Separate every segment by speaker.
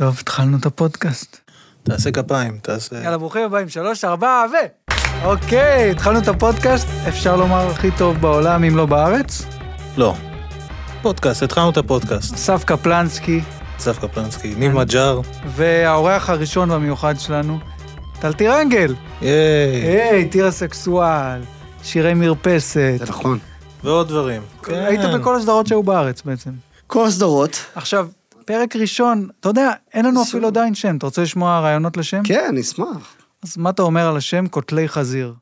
Speaker 1: התחלנו את הפודקאסט.
Speaker 2: תעשה כפיים, תעשה...
Speaker 1: יאללה, ברוכים הבאים, שלוש, ארבע, ו... אוקיי, התחלנו את הפודקאסט, אפשר לומר הכי טוב בעולם, אם לא בארץ.
Speaker 2: לא. פודקאסט, התחלנו את הפודקאסט.
Speaker 1: אסף קפלנסקי,
Speaker 2: אסף קפלנסקי, ניב
Speaker 3: כן.
Speaker 2: מג'אר,
Speaker 1: והאורח הראשון והמיוחד שלנו, טל טירנגל.
Speaker 3: אה.
Speaker 2: ייי,
Speaker 1: היי, טיר הסקסואל, שירי מרפסת.
Speaker 3: זה נכון.
Speaker 2: ועוד דברים. כן.
Speaker 1: היית בכל הסדרות שהיו בארץ בעצם.
Speaker 3: כל הסדרות.
Speaker 1: עכשיו, פרק ראשון, אתה יודע, אין לנו אפילו עדיין שם, אתה רוצה לשמוע רעיונות לשם?
Speaker 3: כן, נשמח.
Speaker 1: אז מה אתה אומר על השם קוטלי חזיר?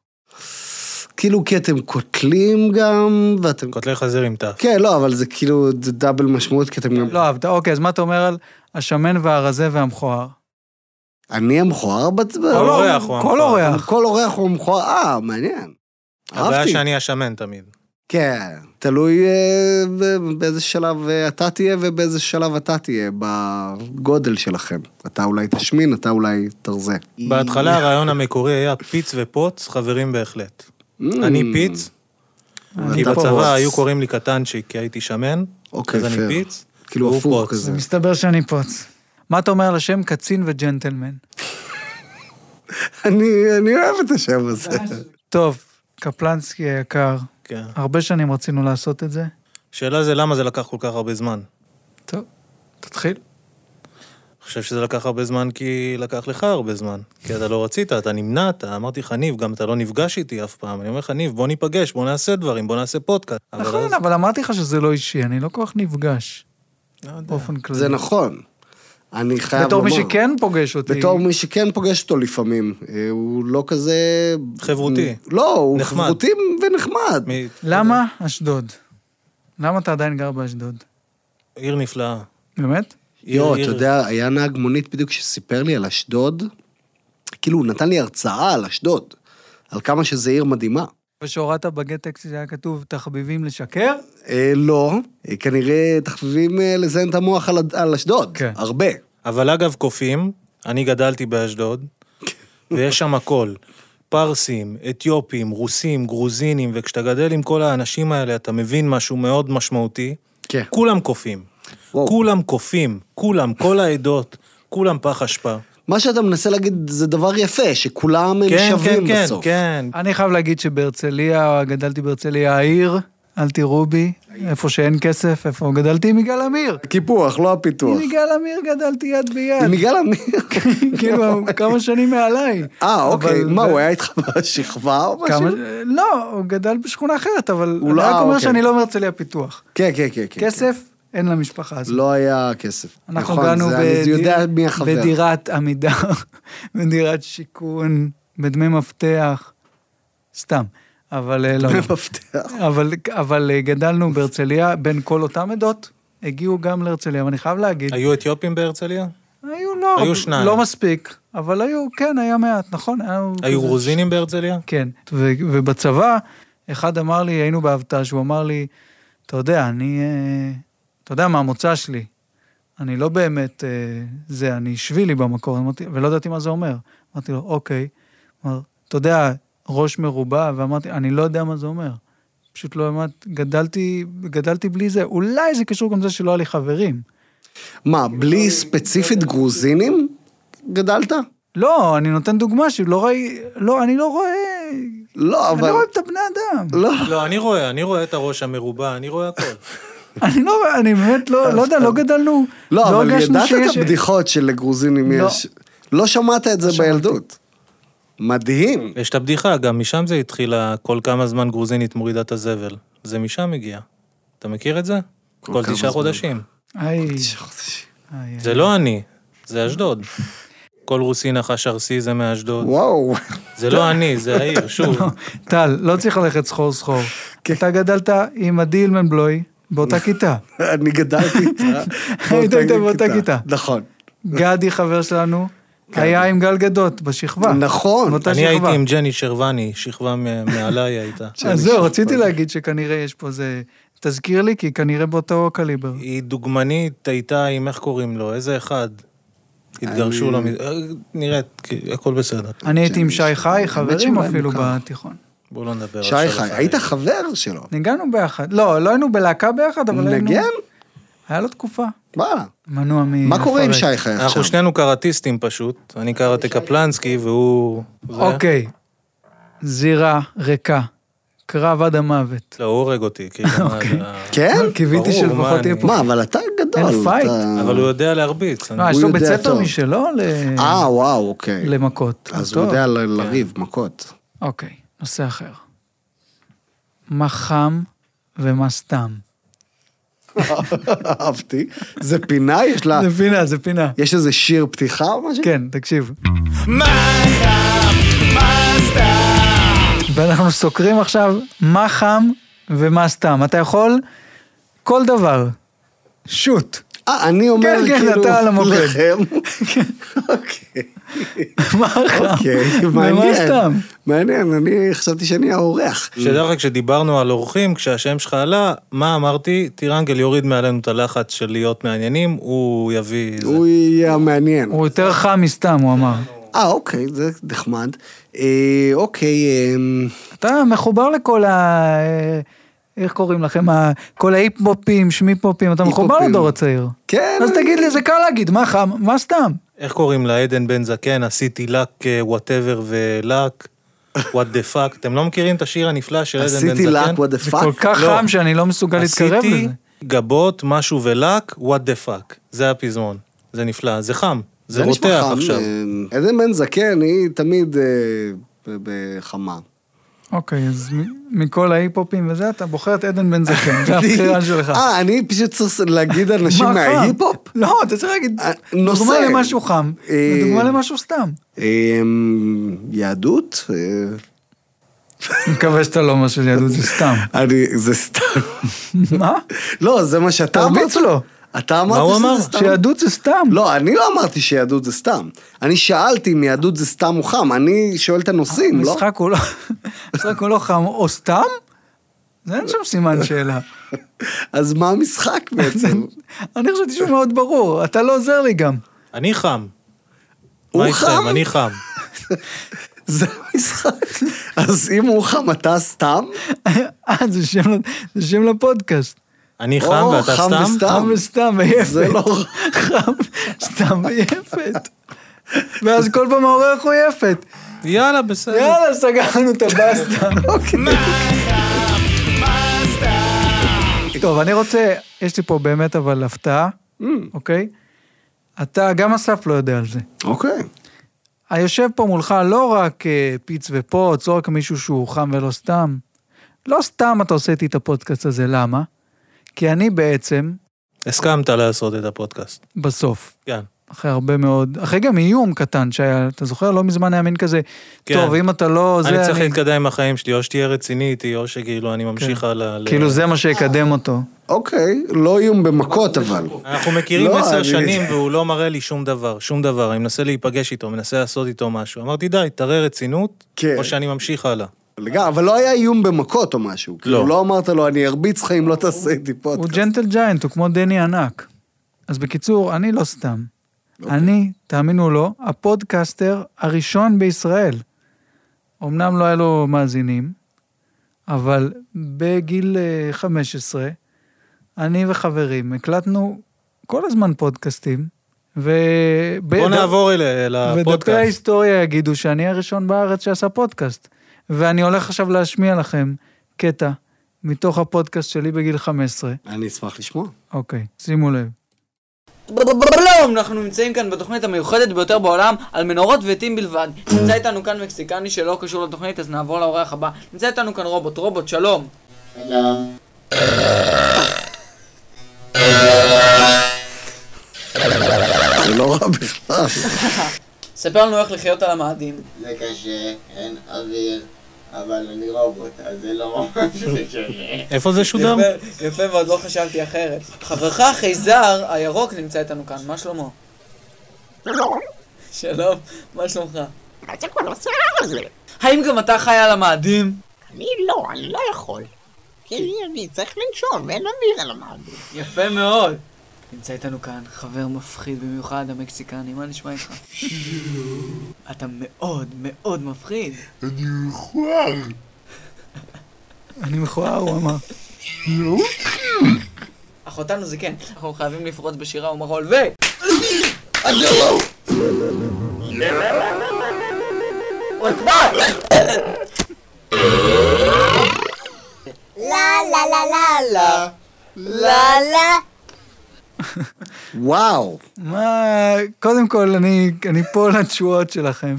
Speaker 3: כאילו, כי אתם קוטלים גם, ואתם...
Speaker 2: קוטלי חזיר עם תף.
Speaker 3: כן, לא, אבל זה כאילו זה דאבל משמעות, כי אתם גם...
Speaker 1: לא אהבת, אוקיי, אז מה אתה אומר על השמן והרזה והמכוער?
Speaker 3: אני המכוער בת...
Speaker 2: כל אורח הוא
Speaker 1: כל
Speaker 2: המכוער.
Speaker 1: אורח.
Speaker 3: כל אורח הוא המכוער. אה, מעניין.
Speaker 2: הבעיה
Speaker 3: אהבתי.
Speaker 2: שאני השמן תמיד.
Speaker 3: כן, תלוי אה, ב- באיזה שלב אה, אתה תהיה ובאיזה שלב אתה תהיה בגודל שלכם. אתה אולי תשמין, אתה אולי תרזה. אה.
Speaker 2: בהתחלה הרעיון המקורי היה פיץ ופוץ, חברים בהחלט.
Speaker 3: Mm.
Speaker 2: אני פיץ, כי
Speaker 1: אתה
Speaker 2: בצבא
Speaker 1: פוץ.
Speaker 2: היו קוראים לי קטנצ'יק כי הייתי שמן,
Speaker 3: אוקיי,
Speaker 2: אז אני
Speaker 3: פייר.
Speaker 2: פיץ.
Speaker 3: כאילו
Speaker 2: והוא
Speaker 3: הפוך
Speaker 2: פוץ.
Speaker 3: כזה.
Speaker 1: זה מסתבר שאני פוץ. מה אתה אומר על השם קצין וג'נטלמן?
Speaker 3: אני אני אוהב את השם הזה.
Speaker 1: טוב, קפלנסקי היקר,
Speaker 2: כן.
Speaker 1: הרבה שנים רצינו לעשות את זה.
Speaker 2: השאלה זה למה זה לקח כל כך הרבה זמן.
Speaker 1: טוב, תתחיל.
Speaker 2: אני חושב שזה לקח הרבה זמן כי לקח לך הרבה זמן. כי אתה לא רצית, אתה נמנעת, אמרתי לך, ניב, גם אתה לא נפגש איתי אף פעם. אני אומר לך, ניב, בוא ניפגש, בוא נעשה דברים, בוא נעשה פודקאסט. אבל אז-
Speaker 1: נכון, אבל אמרתי לך שזה לא אישי, אני לא כל כך נפגש
Speaker 2: לא יודע.
Speaker 1: באופן כללי.
Speaker 3: זה נכון. אני חייב לומר.
Speaker 1: בתור מי שכן פוגש אותי.
Speaker 3: בתור מי שכן פוגש אותו לפעמים. אה, הוא לא כזה...
Speaker 2: חברותי.
Speaker 3: לא, הוא
Speaker 2: נחמד.
Speaker 3: חברותי ונחמד.
Speaker 2: מי-
Speaker 1: למה אשדוד? למה אתה עדיין גר באשדוד?
Speaker 2: עיר נפלאה.
Speaker 1: באמת?
Speaker 2: עיר-
Speaker 3: יואו,
Speaker 2: עיר-
Speaker 3: אתה יודע, היה נהג מונית בדיוק שסיפר לי על אשדוד. כאילו, הוא נתן לי הרצאה על אשדוד. על כמה שזה עיר מדהימה.
Speaker 1: ושהורדת בגט טקסט היה כתוב תחביבים לשקר?
Speaker 3: אה, לא, אה, כנראה תחביבים אה, לזיין את המוח על, על אשדוד.
Speaker 1: כן.
Speaker 3: הרבה.
Speaker 2: אבל אגב, קופים, אני גדלתי באשדוד, ויש שם הכל. פרסים, אתיופים, רוסים, גרוזינים, וכשאתה גדל עם כל האנשים האלה, אתה מבין משהו מאוד משמעותי.
Speaker 3: כן.
Speaker 2: כולם קופים.
Speaker 3: וואו.
Speaker 2: כולם קופים, כולם, כל העדות, כולם פח אשפה.
Speaker 3: מה שאתה מנסה להגיד זה דבר יפה, שכולם הם
Speaker 2: כן, כן,
Speaker 3: שווים
Speaker 2: כן,
Speaker 3: בסוף.
Speaker 2: כן.
Speaker 1: אני חייב להגיד שבהרצליה, גדלתי בהרצליה העיר, אל תירו בי, איפה שאין כסף, איפה גדלתי עם יגאל עמיר.
Speaker 3: קיפוח, לא הפיתוח.
Speaker 1: עם יגאל עמיר גדלתי יד
Speaker 3: עם
Speaker 1: ביד,
Speaker 3: יגאל עמיר.
Speaker 1: כאילו כמה שנים מעליי.
Speaker 3: אה, אוקיי.
Speaker 1: אבל-
Speaker 3: מה, הוא היה איתך בשכבה או משהו?
Speaker 1: כמה... לא, הוא גדל בשכונה אחרת, אבל
Speaker 3: הוא
Speaker 1: אני
Speaker 3: לא-
Speaker 1: רק
Speaker 3: אה,
Speaker 1: אומר
Speaker 3: אוקיי.
Speaker 1: שאני לא מהרצליה פיתוח.
Speaker 3: כן, כן, כן. כן,
Speaker 1: כסף, אין למשפחה
Speaker 3: כן.
Speaker 1: הזאת.
Speaker 3: לא היה כסף.
Speaker 1: אנחנו
Speaker 3: נכון,
Speaker 1: גרנו
Speaker 3: זה- אני
Speaker 1: בדיר-
Speaker 3: יודע מי החבר.
Speaker 1: בדירת עמידר, בדירת שיכון, בדמי מפתח, סתם. אבל אה, לא.
Speaker 3: מפתח.
Speaker 1: אבל, אבל אה, גדלנו בהרצליה, בין כל אותם עדות, הגיעו גם להרצליה, ואני חייב להגיד,
Speaker 2: היו אתיופים בהרצליה?
Speaker 1: היו לא,
Speaker 2: היו שניים.
Speaker 1: לא מספיק, אבל היו, כן, היה מעט, נכון? היה
Speaker 2: היו
Speaker 1: כזה-
Speaker 2: גרוזינים בהרצליה?
Speaker 1: כן, ו- ובצבא, אחד אמר לי, היינו באבט"ש, הוא אמר לי, אתה יודע, אני, אה, אתה יודע מה המוצא שלי, אני לא באמת אה, זה, אני שבילי במקור, אמרתי, ולא ידעתי מה זה אומר. אמרתי לו, אוקיי. אמר, אתה יודע, ראש מרובע, ואמרתי, אני לא יודע מה זה אומר. פשוט לא האמנתי, גדלתי, גדלתי בלי זה. אולי זה קשור גם לזה שלא היה לי חברים.
Speaker 3: מה, בלי ספציפית גרוזינים גדלת?
Speaker 1: לא, אני נותן דוגמה שלא ראי, לא, אני לא רואה,
Speaker 3: לא,
Speaker 1: אני
Speaker 3: אבל...
Speaker 1: לא רואה את הבני אדם.
Speaker 3: לא.
Speaker 2: לא, אני רואה, אני רואה את הראש המרובע, אני רואה הכל.
Speaker 1: אני לא, אני באמת לא, לא יודע, לא גדלנו,
Speaker 3: לא, אבל
Speaker 1: הרגשנו
Speaker 3: ידעת את
Speaker 1: שיש-
Speaker 3: הבדיחות שלגרוזינים
Speaker 1: לא.
Speaker 3: יש. לא שמעת את זה בילדות. מדהים.
Speaker 2: יש את הבדיחה, גם משם זה התחיל, ה- כל כמה זמן גרוזינית מורידה את הזבל. זה משם הגיע. אתה מכיר את זה? כל
Speaker 3: כמה
Speaker 2: תשעה
Speaker 3: זמן. כן.
Speaker 2: חודשים.
Speaker 1: איי, איי,
Speaker 2: זה לא אני, זה אשדוד. כל רוסי נחש ארסי זה מאשדוד.
Speaker 3: וואו.
Speaker 2: זה לא אני, זה העיר, שוב.
Speaker 1: איי. טל, לא צריך ללכת סחור סחור.
Speaker 3: כן.
Speaker 1: אתה גדלת עם עדי אילמנבלוי באותה
Speaker 3: נכון.
Speaker 1: כיתה.
Speaker 3: אני גדלתי איתה.
Speaker 1: היית
Speaker 3: באותה
Speaker 1: איתה באותה כיתה.
Speaker 3: נכון.
Speaker 1: גדי, חבר שלנו, היה עם גל גדות בשכבה.
Speaker 3: נכון.
Speaker 1: באותה
Speaker 2: אני
Speaker 1: שכבה.
Speaker 2: הייתי עם ג'ני שרבני, שכבה מ- מעליי הייתה.
Speaker 1: אז זהו, רציתי להגיד שכנראה יש פה איזה... תזכיר לי, כי כנראה באותו קליבר.
Speaker 2: היא דוגמנית, הייתה עם, איך קוראים לו, איזה אחד. התגרשו לו, מ- אה, נראה, כי- הכל בסדר.
Speaker 1: אני הייתי עם שי חי,
Speaker 3: האמת
Speaker 1: חברים
Speaker 3: שאולי
Speaker 1: אפילו
Speaker 3: לא מוכר.
Speaker 1: בתיכון.
Speaker 2: בואו לא נדבר עכשיו.
Speaker 3: שי חי,
Speaker 2: על
Speaker 3: היית חבר שלו.
Speaker 1: ניגענו ביחד. לא, לא היינו בלהקה ביחד, אבל היינו...
Speaker 3: נגן?
Speaker 1: היה לו תקופה.
Speaker 3: וואלה.
Speaker 1: מנוע מ...
Speaker 3: מה קורה עם
Speaker 1: לפרט.
Speaker 3: שי חי עכשיו?
Speaker 2: אנחנו שנינו קראטיסטים פשוט, אני קראתי קפלנסקי והוא... זה.
Speaker 1: אוקיי, זירה ריקה, קרב עד המוות.
Speaker 2: לא, הוא הורג אותי, כאילו. מה
Speaker 1: אוקיי.
Speaker 2: זה ה-
Speaker 3: כן?
Speaker 1: לא, קיוויתי
Speaker 2: ברור,
Speaker 1: שלפחות
Speaker 2: מה,
Speaker 1: תהיה
Speaker 2: אני-
Speaker 1: פה...
Speaker 3: מה, אבל אתה גדול.
Speaker 1: אין פייט.
Speaker 3: אתה-
Speaker 2: אבל הוא יודע להרביץ. אני-
Speaker 1: לא, יש
Speaker 3: הוא
Speaker 1: לו בית
Speaker 3: יודע
Speaker 1: ספר
Speaker 3: טוב.
Speaker 1: משלו ל-
Speaker 3: אה, וואו, אוקיי.
Speaker 1: למכות.
Speaker 3: אז
Speaker 1: טוב.
Speaker 3: הוא
Speaker 1: כן.
Speaker 3: יודע ל- לריב, מכות.
Speaker 1: אוקיי, נושא אחר. מה חם ומה סתם.
Speaker 3: אהבתי. זה פינה? יש לה...
Speaker 1: זה פינה, זה פינה.
Speaker 3: יש איזה שיר פתיחה או משהו?
Speaker 1: כן, תקשיב. ואנחנו סוקרים עכשיו מה חם ומה סתם. אתה יכול כל דבר. שוט.
Speaker 3: אה, אני אומר
Speaker 1: כן, כן,
Speaker 3: כאילו...
Speaker 1: אתה על המוקד.
Speaker 3: לכם. אוקיי.
Speaker 1: מה חם
Speaker 3: אוקיי,
Speaker 1: ומה
Speaker 3: מעניין.
Speaker 1: סתם.
Speaker 3: מעניין, אני חשבתי שאני האורח.
Speaker 2: שתדע לך, כשדיברנו על אורחים, כשהשם שלך עלה, מה אמרתי? טירנגל יוריד מעלינו את הלחץ של להיות מעניינים, הוא יביא... זה.
Speaker 3: הוא יהיה המעניין.
Speaker 1: הוא יותר חם מסתם, הוא אמר.
Speaker 3: אה, אוקיי, זה נחמד. אה, אוקיי, אה,
Speaker 1: אתה מחובר לכל ה... אה, איך קוראים לכם? ה- כל ההיפ-מופים, שמי-פופים, אתה מחובר
Speaker 3: היפ-הופים.
Speaker 1: לדור הצעיר.
Speaker 3: כן.
Speaker 1: אז תגיד לי, זה קל להגיד, מה חם, מה סתם?
Speaker 2: איך קוראים לה? עדן בן זקן, עשיתי לק, וואטאבר ולק, וואט דה פאק. אתם לא מכירים את השיר הנפלא של עדן בן זקן?
Speaker 3: עשיתי לק, what the
Speaker 1: זה כל
Speaker 3: fuck?
Speaker 1: כך
Speaker 2: לא.
Speaker 1: חם שאני לא מסוגל להתקרב
Speaker 2: עשיתי
Speaker 1: לזה.
Speaker 2: גבות, משהו ולק, וואט דה פאק. זה הפזמון. זה נפלא, זה חם. זה
Speaker 3: נשמע
Speaker 2: רותח
Speaker 3: חם,
Speaker 2: עכשיו.
Speaker 3: אה, עדן בן זקן היא תמיד אה, ב- בחמה.
Speaker 1: אוקיי, אז מ- מכל ההיפ-הופים וזה, אתה בוחר את עדן בן זקן, זה הבחירה שלך.
Speaker 3: אה, אני פשוט צריך להגיד אנשים
Speaker 1: מה חם?
Speaker 3: מההיפ-הופ?
Speaker 1: לא, אתה צריך להגיד,
Speaker 3: אה, נושא.
Speaker 1: דוגמה למשהו חם,
Speaker 3: אה,
Speaker 1: ודוגמה למשהו סתם.
Speaker 3: אה, יהדות? אה,
Speaker 1: אני מקווה שאתה לא אומר של יהדות, זה סתם.
Speaker 3: אני, זה סתם.
Speaker 1: מה?
Speaker 3: לא, זה מה שאתה אמרת.
Speaker 1: תרביץ לו.
Speaker 3: אתה אמרת
Speaker 2: מה הוא אמר?
Speaker 3: שזה סתם.
Speaker 1: שיהדות זה סתם.
Speaker 3: לא, אני לא אמרתי שיהדות זה סתם. אני שאלתי אם יהדות זה סתם או חם, אני שואל את הנושאים, לא?
Speaker 1: המשחק הוא לא- המשחק הוא לא חם, או סתם? זה אין שם סימן שאלה.
Speaker 3: אז מה המשחק בעצם?
Speaker 1: אני חשבתי שהוא מאוד ברור, אתה לא עוזר לי גם.
Speaker 2: אני חם.
Speaker 3: הוא
Speaker 2: מה איתכם?
Speaker 3: חם?
Speaker 2: אני חם.
Speaker 3: זה המשחק. אז אם הוא חם, אתה סתם?
Speaker 1: אה, זה שם ל- זה שם לפודקאסט.
Speaker 2: אני
Speaker 3: או,
Speaker 2: חם ואתה
Speaker 3: חם
Speaker 2: סתם?
Speaker 3: וסתם.
Speaker 1: חם וסתם ויפת.
Speaker 3: זה לא...
Speaker 1: חם, סתם ויפת. ואז כל פעם העורך הוא יפת.
Speaker 2: יאללה, בסדר.
Speaker 1: יאללה, סגרנו את אוקיי. הבאסטה. טוב, אני רוצה, יש לי פה באמת אבל הפתעה,
Speaker 2: Mm.
Speaker 1: אוקיי? אתה, גם אסף לא יודע על זה.
Speaker 3: אוקיי.
Speaker 1: היושב פה מולך לא רק אה, פיץ ופוץ, לא רק מישהו שהוא חם ולא סתם. לא סתם אתה עושה איתי את הפודקאסט הזה, למה? כי אני בעצם,
Speaker 2: הסכמת לעשות את הפודקאסט.
Speaker 1: בסוף,
Speaker 2: כן.
Speaker 1: אחרי הרבה מאוד, אחרי גם איום קטן שהיה, אתה זוכר? לא מזמן היה מין כזה,
Speaker 2: כן.
Speaker 1: טוב, אם אתה לא, זה
Speaker 2: אני צריך
Speaker 1: אני...
Speaker 2: להתקדם עם החיים שלי, או שתהיה רציני איתי, או שכאילו אני ממשיך הלאה. ל-
Speaker 1: כאילו זה מה שיקדם אותו.
Speaker 3: אוקיי, לא איום במכות אבל.
Speaker 2: אנחנו מכירים
Speaker 3: לא,
Speaker 2: עשר
Speaker 3: אני-
Speaker 2: שנים והוא לא מראה לי שום דבר, שום דבר. אני מנסה להיפגש איתו, מנסה לעשות איתו משהו. אמרתי, די, תראה רצינות,
Speaker 3: כן.
Speaker 2: או שאני ממשיך הלאה.
Speaker 3: לגמרי, אבל לא היה איום במכות או משהו. כאילו, לא אמרת לו, אני ארביץ לך אם לא תעשה איתי
Speaker 1: הוא
Speaker 3: פודקאסט.
Speaker 1: ג'נטל ג'יינט, הוא כמו דני ענק. אז בקיצור, אני לא סתם.
Speaker 2: אוקיי.
Speaker 1: אני, תאמינו או לא, הפודקאסטר הראשון בישראל. אמנם לא היה לו מאזינים, אבל בגיל אה, 15, אני וחברים הקלטנו כל הזמן פודקאסטים, ו...
Speaker 2: בוא
Speaker 1: ב-
Speaker 2: נעבור אל- אל
Speaker 1: ודפי
Speaker 2: הפודקאסט.
Speaker 1: ההיסטוריה יגידו שאני הראשון בארץ שעשה פודקאסט. ואני הולך עכשיו להשמיע לכם קטע מתוך הפודקאסט שלי בגיל 15.
Speaker 3: אני אשמח לשמוע.
Speaker 1: אוקיי, שימו לב.
Speaker 4: שלום, אנחנו נמצאים כאן בתוכנית המיוחדת ביותר בעולם על מנורות ועטים בלבד. נמצא איתנו כאן מקסיקני שלא קשור לתוכנית, אז נעבור לאורח הבא. נמצא איתנו כאן רובוט, רובוט, שלום.
Speaker 3: זה לא רע בכלל.
Speaker 4: ספר לנו איך לחיות על המאדים.
Speaker 5: זה קשה, אין אוויר, אבל אני רובוט, אז זה לא ממש קשה.
Speaker 2: איפה זה שודר?
Speaker 4: יפה, יפה ועוד לא חשבתי אחרת. חברך החייזר הירוק נמצא איתנו כאן, מה שלמה? שלום, מה שלומך?
Speaker 6: אז זה כבר לא עושה זה.
Speaker 4: האם גם אתה חי על המאדים?
Speaker 6: אני לא, אני לא יכול. כי אני צריך לנשום, אין אוויר על המעלה.
Speaker 4: יפה מאוד. נמצא איתנו כאן חבר מפחיד במיוחד, המקסיקני, מה נשמע איתך? אתה מאוד מאוד מפחיד.
Speaker 1: אני מכוער, הוא אמר.
Speaker 4: אותנו זה כן. אנחנו חייבים לפרוץ בשירה ומרול, ו...
Speaker 3: וואו.
Speaker 1: מה, קודם כל, אני, אני פה לתשואות שלכם.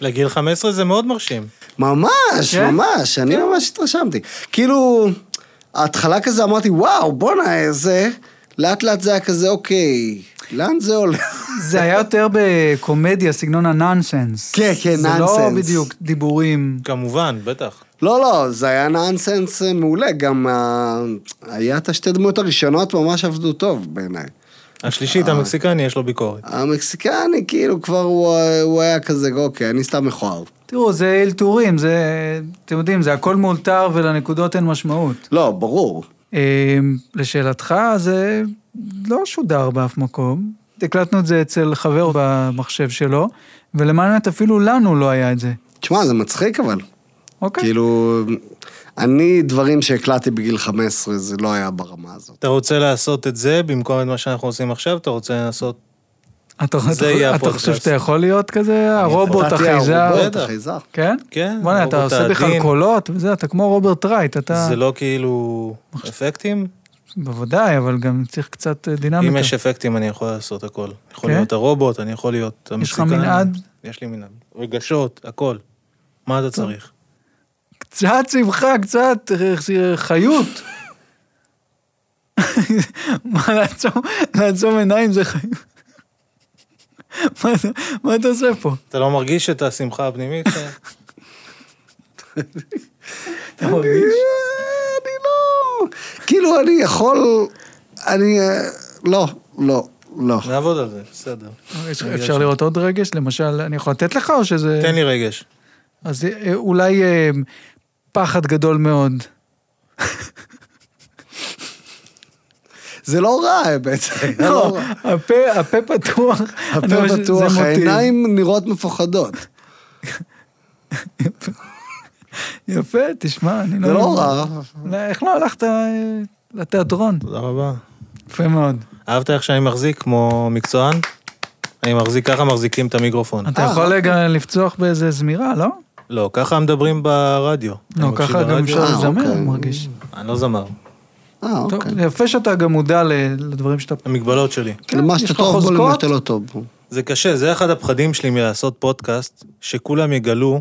Speaker 2: לגיל 15 זה מאוד מרשים.
Speaker 3: ממש,
Speaker 1: כן?
Speaker 3: ממש, אני ממש התרשמתי. כאילו, ההתחלה כזה אמרתי, וואו, בואנה, איזה... לאט לאט זה היה כזה, אוקיי, לאן זה הולך?
Speaker 1: זה היה יותר בקומדיה, סגנון הנונסנס.
Speaker 3: כן, כן,
Speaker 1: זה לא
Speaker 3: נונסנס.
Speaker 1: בדיוק דיבורים.
Speaker 2: כמובן, בטח.
Speaker 3: לא, לא, זה היה נאנסנס מעולה, גם ה- היה את השתי דמויות הראשונות ממש עבדו טוב בעיניי.
Speaker 2: השלישית,
Speaker 3: אה.
Speaker 2: המקסיקני, יש לו ביקורת.
Speaker 3: המקסיקני, כאילו, כבר הוא, הוא היה כזה, אוקיי, אני סתם מכוער.
Speaker 1: תראו, זה אלתורים, זה, אתם יודעים, זה הכל מאולתר ולנקודות אין משמעות.
Speaker 3: לא, ברור.
Speaker 1: אה, לשאלתך, זה לא שודר באף מקום. הקלטנו את זה אצל חבר במחשב שלו, ולמען האמת אפילו לנו לא היה את זה.
Speaker 3: תשמע, זה מצחיק אבל.
Speaker 1: אוקיי?
Speaker 3: כאילו, אני, דברים שהקלטתי בגיל 15, זה לא היה ברמה הזאת.
Speaker 2: אתה רוצה לעשות את זה במקום את מה שאנחנו עושים עכשיו, אתה רוצה לעשות...
Speaker 1: אתה,
Speaker 2: זה
Speaker 1: אתה,
Speaker 2: יהיה
Speaker 1: אתה
Speaker 2: הפודקאסט.
Speaker 1: חושב שאתה יכול להיות כזה, הרובוט,
Speaker 3: נתתי
Speaker 1: החייזר?
Speaker 3: הרובוט, החייזר.
Speaker 1: כן?
Speaker 2: כן,
Speaker 1: בוא'נה, אתה
Speaker 2: הרובוט
Speaker 1: עושה בכלל
Speaker 2: העדין.
Speaker 1: קולות וזה, אתה כמו רוברט רייט, אתה...
Speaker 2: זה לא כאילו אפקטים?
Speaker 1: בוודאי, אבל גם צריך קצת אה, דינמיקה.
Speaker 2: אם יש אפקטים, אני יכול לעשות הכל. יכול
Speaker 1: כן?
Speaker 2: להיות הרובוט, אני יכול להיות
Speaker 1: יש לך
Speaker 2: המקסיקני.
Speaker 1: מנעד?
Speaker 2: יש לי מנעד. רגשות, הכל. מה אתה צריך?
Speaker 1: קצת שמחה, קצת אה, חיות. מה, לעצום, לעצום עיניים זה חיות. מה אתה- מה אתה עושה פה?
Speaker 2: אתה לא מרגיש את השמחה הפנימית? אה, שלך?
Speaker 1: אתה מרגיש?
Speaker 3: אה, אני לא... כאילו, אני יכול... אני... אה, לא, לא, לא.
Speaker 2: נעבוד על זה, בסדר.
Speaker 1: יש- אפשר לראות עוד רגש? למשל, אני יכול לתת לך או שזה...
Speaker 2: תן לי רגש.
Speaker 1: אז אה, אולי אה, פחד גדול מאוד.
Speaker 3: זה לא רע, האמת. זה לא
Speaker 1: לא,
Speaker 3: רע.
Speaker 1: הפה, הפה פתוח. אני
Speaker 3: הפה
Speaker 1: ממש- זה
Speaker 3: פתוח,
Speaker 1: מוטיב.
Speaker 3: העיניים נראות מפוחדות.
Speaker 1: יפה, תשמע, אני לא...
Speaker 3: זה לא רע.
Speaker 1: לא, איך לא הלכת אה, לתיאטרון?
Speaker 2: תודה רבה.
Speaker 1: יפה מאוד.
Speaker 2: אהבת איך שאני מחזיק כמו מקצוען? אני מחזיק, ככה מחזיקים את המיקרופון.
Speaker 3: אה,
Speaker 1: אתה
Speaker 3: אוקיי.
Speaker 1: יכול רגע לפצוח באיזה זמירה, לא?
Speaker 2: לא, ככה מדברים ברדיו. אני
Speaker 1: לא,
Speaker 2: מקשיב
Speaker 1: ככה גם
Speaker 2: ברדיו.
Speaker 1: אפשר
Speaker 3: אה,
Speaker 1: לזמר,
Speaker 3: אוקיי.
Speaker 1: אני מרגיש.
Speaker 2: אני לא זמר.
Speaker 3: אה,
Speaker 1: טוב,
Speaker 3: אוקיי. כן,
Speaker 1: יפה שאתה גם מודע ל- לדברים שאתה...
Speaker 2: המגבלות שלי.
Speaker 3: למה
Speaker 1: כן, יש
Speaker 3: שאתה
Speaker 1: לך
Speaker 3: טוב בו, למה
Speaker 1: חוזקות?
Speaker 3: שאתה לא טוב בו.
Speaker 2: זה קשה, זה אחד הפחדים שלי מלעשות פודקאסט, שכולם יגלו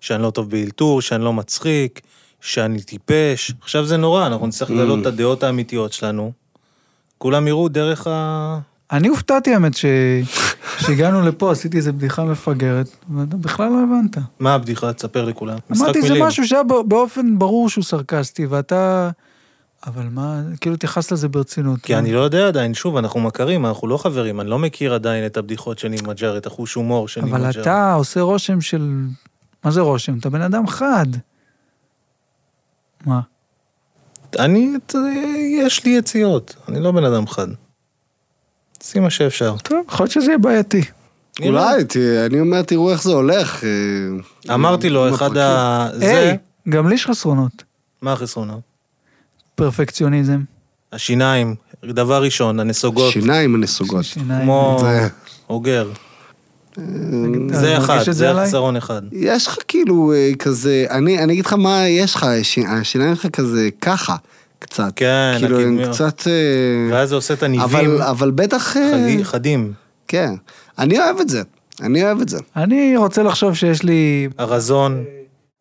Speaker 2: שאני לא טוב באלתור, שאני לא מצחיק, שאני טיפש. עכשיו זה נורא, אנחנו נצטרך
Speaker 1: Mm.
Speaker 2: לגלות את הדעות האמיתיות שלנו. כולם יראו דרך ה...
Speaker 1: אני הופתעתי האמת ש- שהגענו לפה, עשיתי איזה בדיחה מפגרת, ואתה בכלל לא הבנת.
Speaker 2: מה הבדיחה? תספר לכולם. משחק
Speaker 1: אמרתי, זה
Speaker 2: מילים.
Speaker 1: משהו שהיה בא- באופן ברור שהוא סרקסטי, ואתה... אבל מה, כאילו התייחסת לזה ברצינות.
Speaker 2: כי אני לא יודע עדיין, שוב, אנחנו מכרים, אנחנו לא חברים, אני לא מכיר עדיין את הבדיחות של נימג'ר, את החוש הומור של נימג'ר.
Speaker 1: אבל אתה עושה רושם של... מה זה רושם? אתה בן אדם חד. מה?
Speaker 2: אני, אתה- יש לי יציאות, אני לא בן אדם חד. עושים מה שאפשר.
Speaker 1: טוב, יכול להיות שזה יהיה בעייתי.
Speaker 3: אולי, ת- אני אומר, תראו איך זה הולך. אה,
Speaker 2: אמרתי לו,
Speaker 3: עם
Speaker 2: אחד
Speaker 3: הפרקים.
Speaker 2: ה... זה...
Speaker 1: היי, גם לי יש חסרונות.
Speaker 2: מה החסרונות?
Speaker 1: פרפקציוניזם.
Speaker 2: השיניים, דבר ראשון, הנסוגות,
Speaker 3: שיניים הנסוגות.
Speaker 1: שיניים.
Speaker 2: כמו
Speaker 3: זה-
Speaker 2: אוגר.
Speaker 1: אתה
Speaker 2: זה
Speaker 1: מרגיש
Speaker 2: אחד,
Speaker 1: את
Speaker 2: זה
Speaker 1: עליי?
Speaker 2: החסרון אחד.
Speaker 3: יש לך כאילו אה, כזה, אני אני אגיד לך מה יש לך, הש- השיניים שלך כזה ככה, קצת.
Speaker 2: כן,
Speaker 3: כאילו, הם
Speaker 2: הקדמיות.
Speaker 3: קצת... אה,
Speaker 2: ואז זה עושה את הניבים
Speaker 3: אבל, אבל בטח... אה,
Speaker 2: חדי- חדים,
Speaker 3: כן. אני אוהב את זה. אני אוהב את זה.
Speaker 1: אני רוצה לחשוב שיש לי
Speaker 2: הרזון.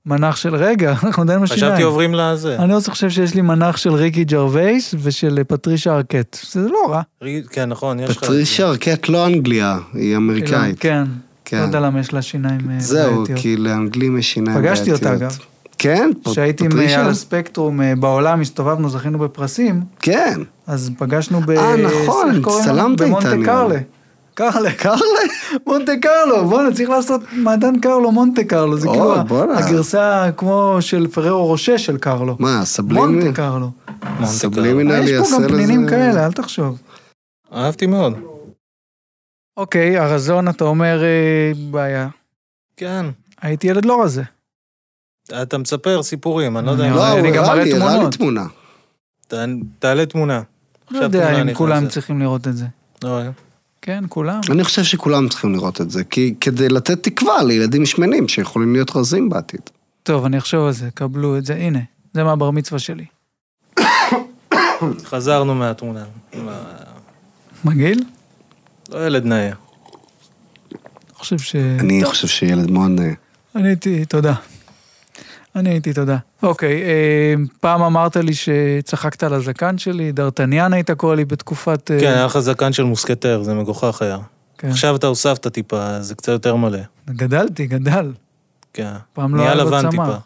Speaker 1: מנח של... רגע, אנחנו עדיין בשיניים.
Speaker 2: חשבתי עוברים לזה.
Speaker 1: אני רוצה לחשוב שיש לי מנח של ריקי ג'רווייס ושל אה, פטרישה ארקט. זה לא רע.
Speaker 2: ריג- כן, נכון, יש לך...
Speaker 3: פטרישה ארקט לא אנגליה, היא אמריקאית.
Speaker 1: כן.
Speaker 3: כן.
Speaker 1: לא יודע למה יש לה שיניים אה,
Speaker 3: זהו, כאילו,
Speaker 1: בעייתיות.
Speaker 3: כי לאנגלים יש שיניים
Speaker 1: פגשתי אותה,
Speaker 3: בעייתיות.
Speaker 1: אגב.
Speaker 3: כן? פ-
Speaker 1: כשהייתי עם, אה,
Speaker 3: פטרישה?
Speaker 1: על הספקטרום אה, בעולם, הסתובבנו, זכינו בפרסים,
Speaker 3: כן.
Speaker 1: אז פגשנו ב...
Speaker 3: אה, נכון,
Speaker 1: איך קוראים לה?
Speaker 3: הצטלמת איתה, נראה לי.
Speaker 1: במונטה קרלה. קרלה. קרלה? מונטה קרלו, בואנה, צריך לעשות מעדן קרלו, מונטה קרלו, זה
Speaker 3: אוי,
Speaker 1: כאילו
Speaker 3: בואנה.
Speaker 1: הגרסה כמו של פררו רושה של קרלו.
Speaker 3: מה, סבלימי?
Speaker 1: מונטה קרלו. אה,
Speaker 2: מונטה
Speaker 3: סבלימינל
Speaker 1: יש
Speaker 3: יעשה
Speaker 1: פה
Speaker 3: לזה...
Speaker 1: גם פנינים כאלה, אל תחשוב.
Speaker 2: קרלו. אהבתי מאוד.
Speaker 1: אוקיי, הרזון, אתה אומר, אה, בעיה.
Speaker 2: כן.
Speaker 1: הייתי ילד לא רזה.
Speaker 2: אתה מספר סיפורים, אני לא יודע.
Speaker 1: אני
Speaker 2: אם-
Speaker 1: אבל
Speaker 3: לא,
Speaker 1: אני
Speaker 3: הוא
Speaker 1: גם
Speaker 3: הראה
Speaker 1: מראה
Speaker 3: לי, הראה לי
Speaker 1: תמונות.
Speaker 3: תמונה.
Speaker 2: ת- תעלה תמונה.
Speaker 1: לא
Speaker 2: עכשיו תמונה
Speaker 1: יודע אם
Speaker 2: נכנסת.
Speaker 1: כולם צריכים לראות את זה.
Speaker 2: לא, אה?
Speaker 1: כן, כולם.
Speaker 3: אני חושב שכולם צריכים לראות את זה, כי כדי לתת תקווה לילדים שמנים שיכולים להיות רזים בעתיד.
Speaker 1: טוב, אני אחשוב על זה, קבלו את זה. הנה, זה מהבר מצווה שלי.
Speaker 2: חזרנו מהתמונה.
Speaker 1: מגעיל?
Speaker 2: לא ילד
Speaker 1: אה.
Speaker 2: נאה.
Speaker 1: אני חושב ש...
Speaker 3: אני חושב שילד מאוד... אה,
Speaker 1: אני הייתי, תודה. אני הייתי, תודה. אוקיי, אה, פעם אמרת לי שצחקת על הזקן שלי, דרטניאן היית קורא לי בתקופת... אה,
Speaker 2: כן, היה לך זקן של מוסקטר, זה מגוחך היה.
Speaker 1: כן.
Speaker 2: עכשיו אתה הוספת טיפה, זה קצת יותר מלא.
Speaker 1: גדלתי, גדל.
Speaker 2: כן.
Speaker 1: פעם לא
Speaker 2: נהיה
Speaker 1: היה לו
Speaker 2: לבן
Speaker 1: צמא.
Speaker 2: טיפה.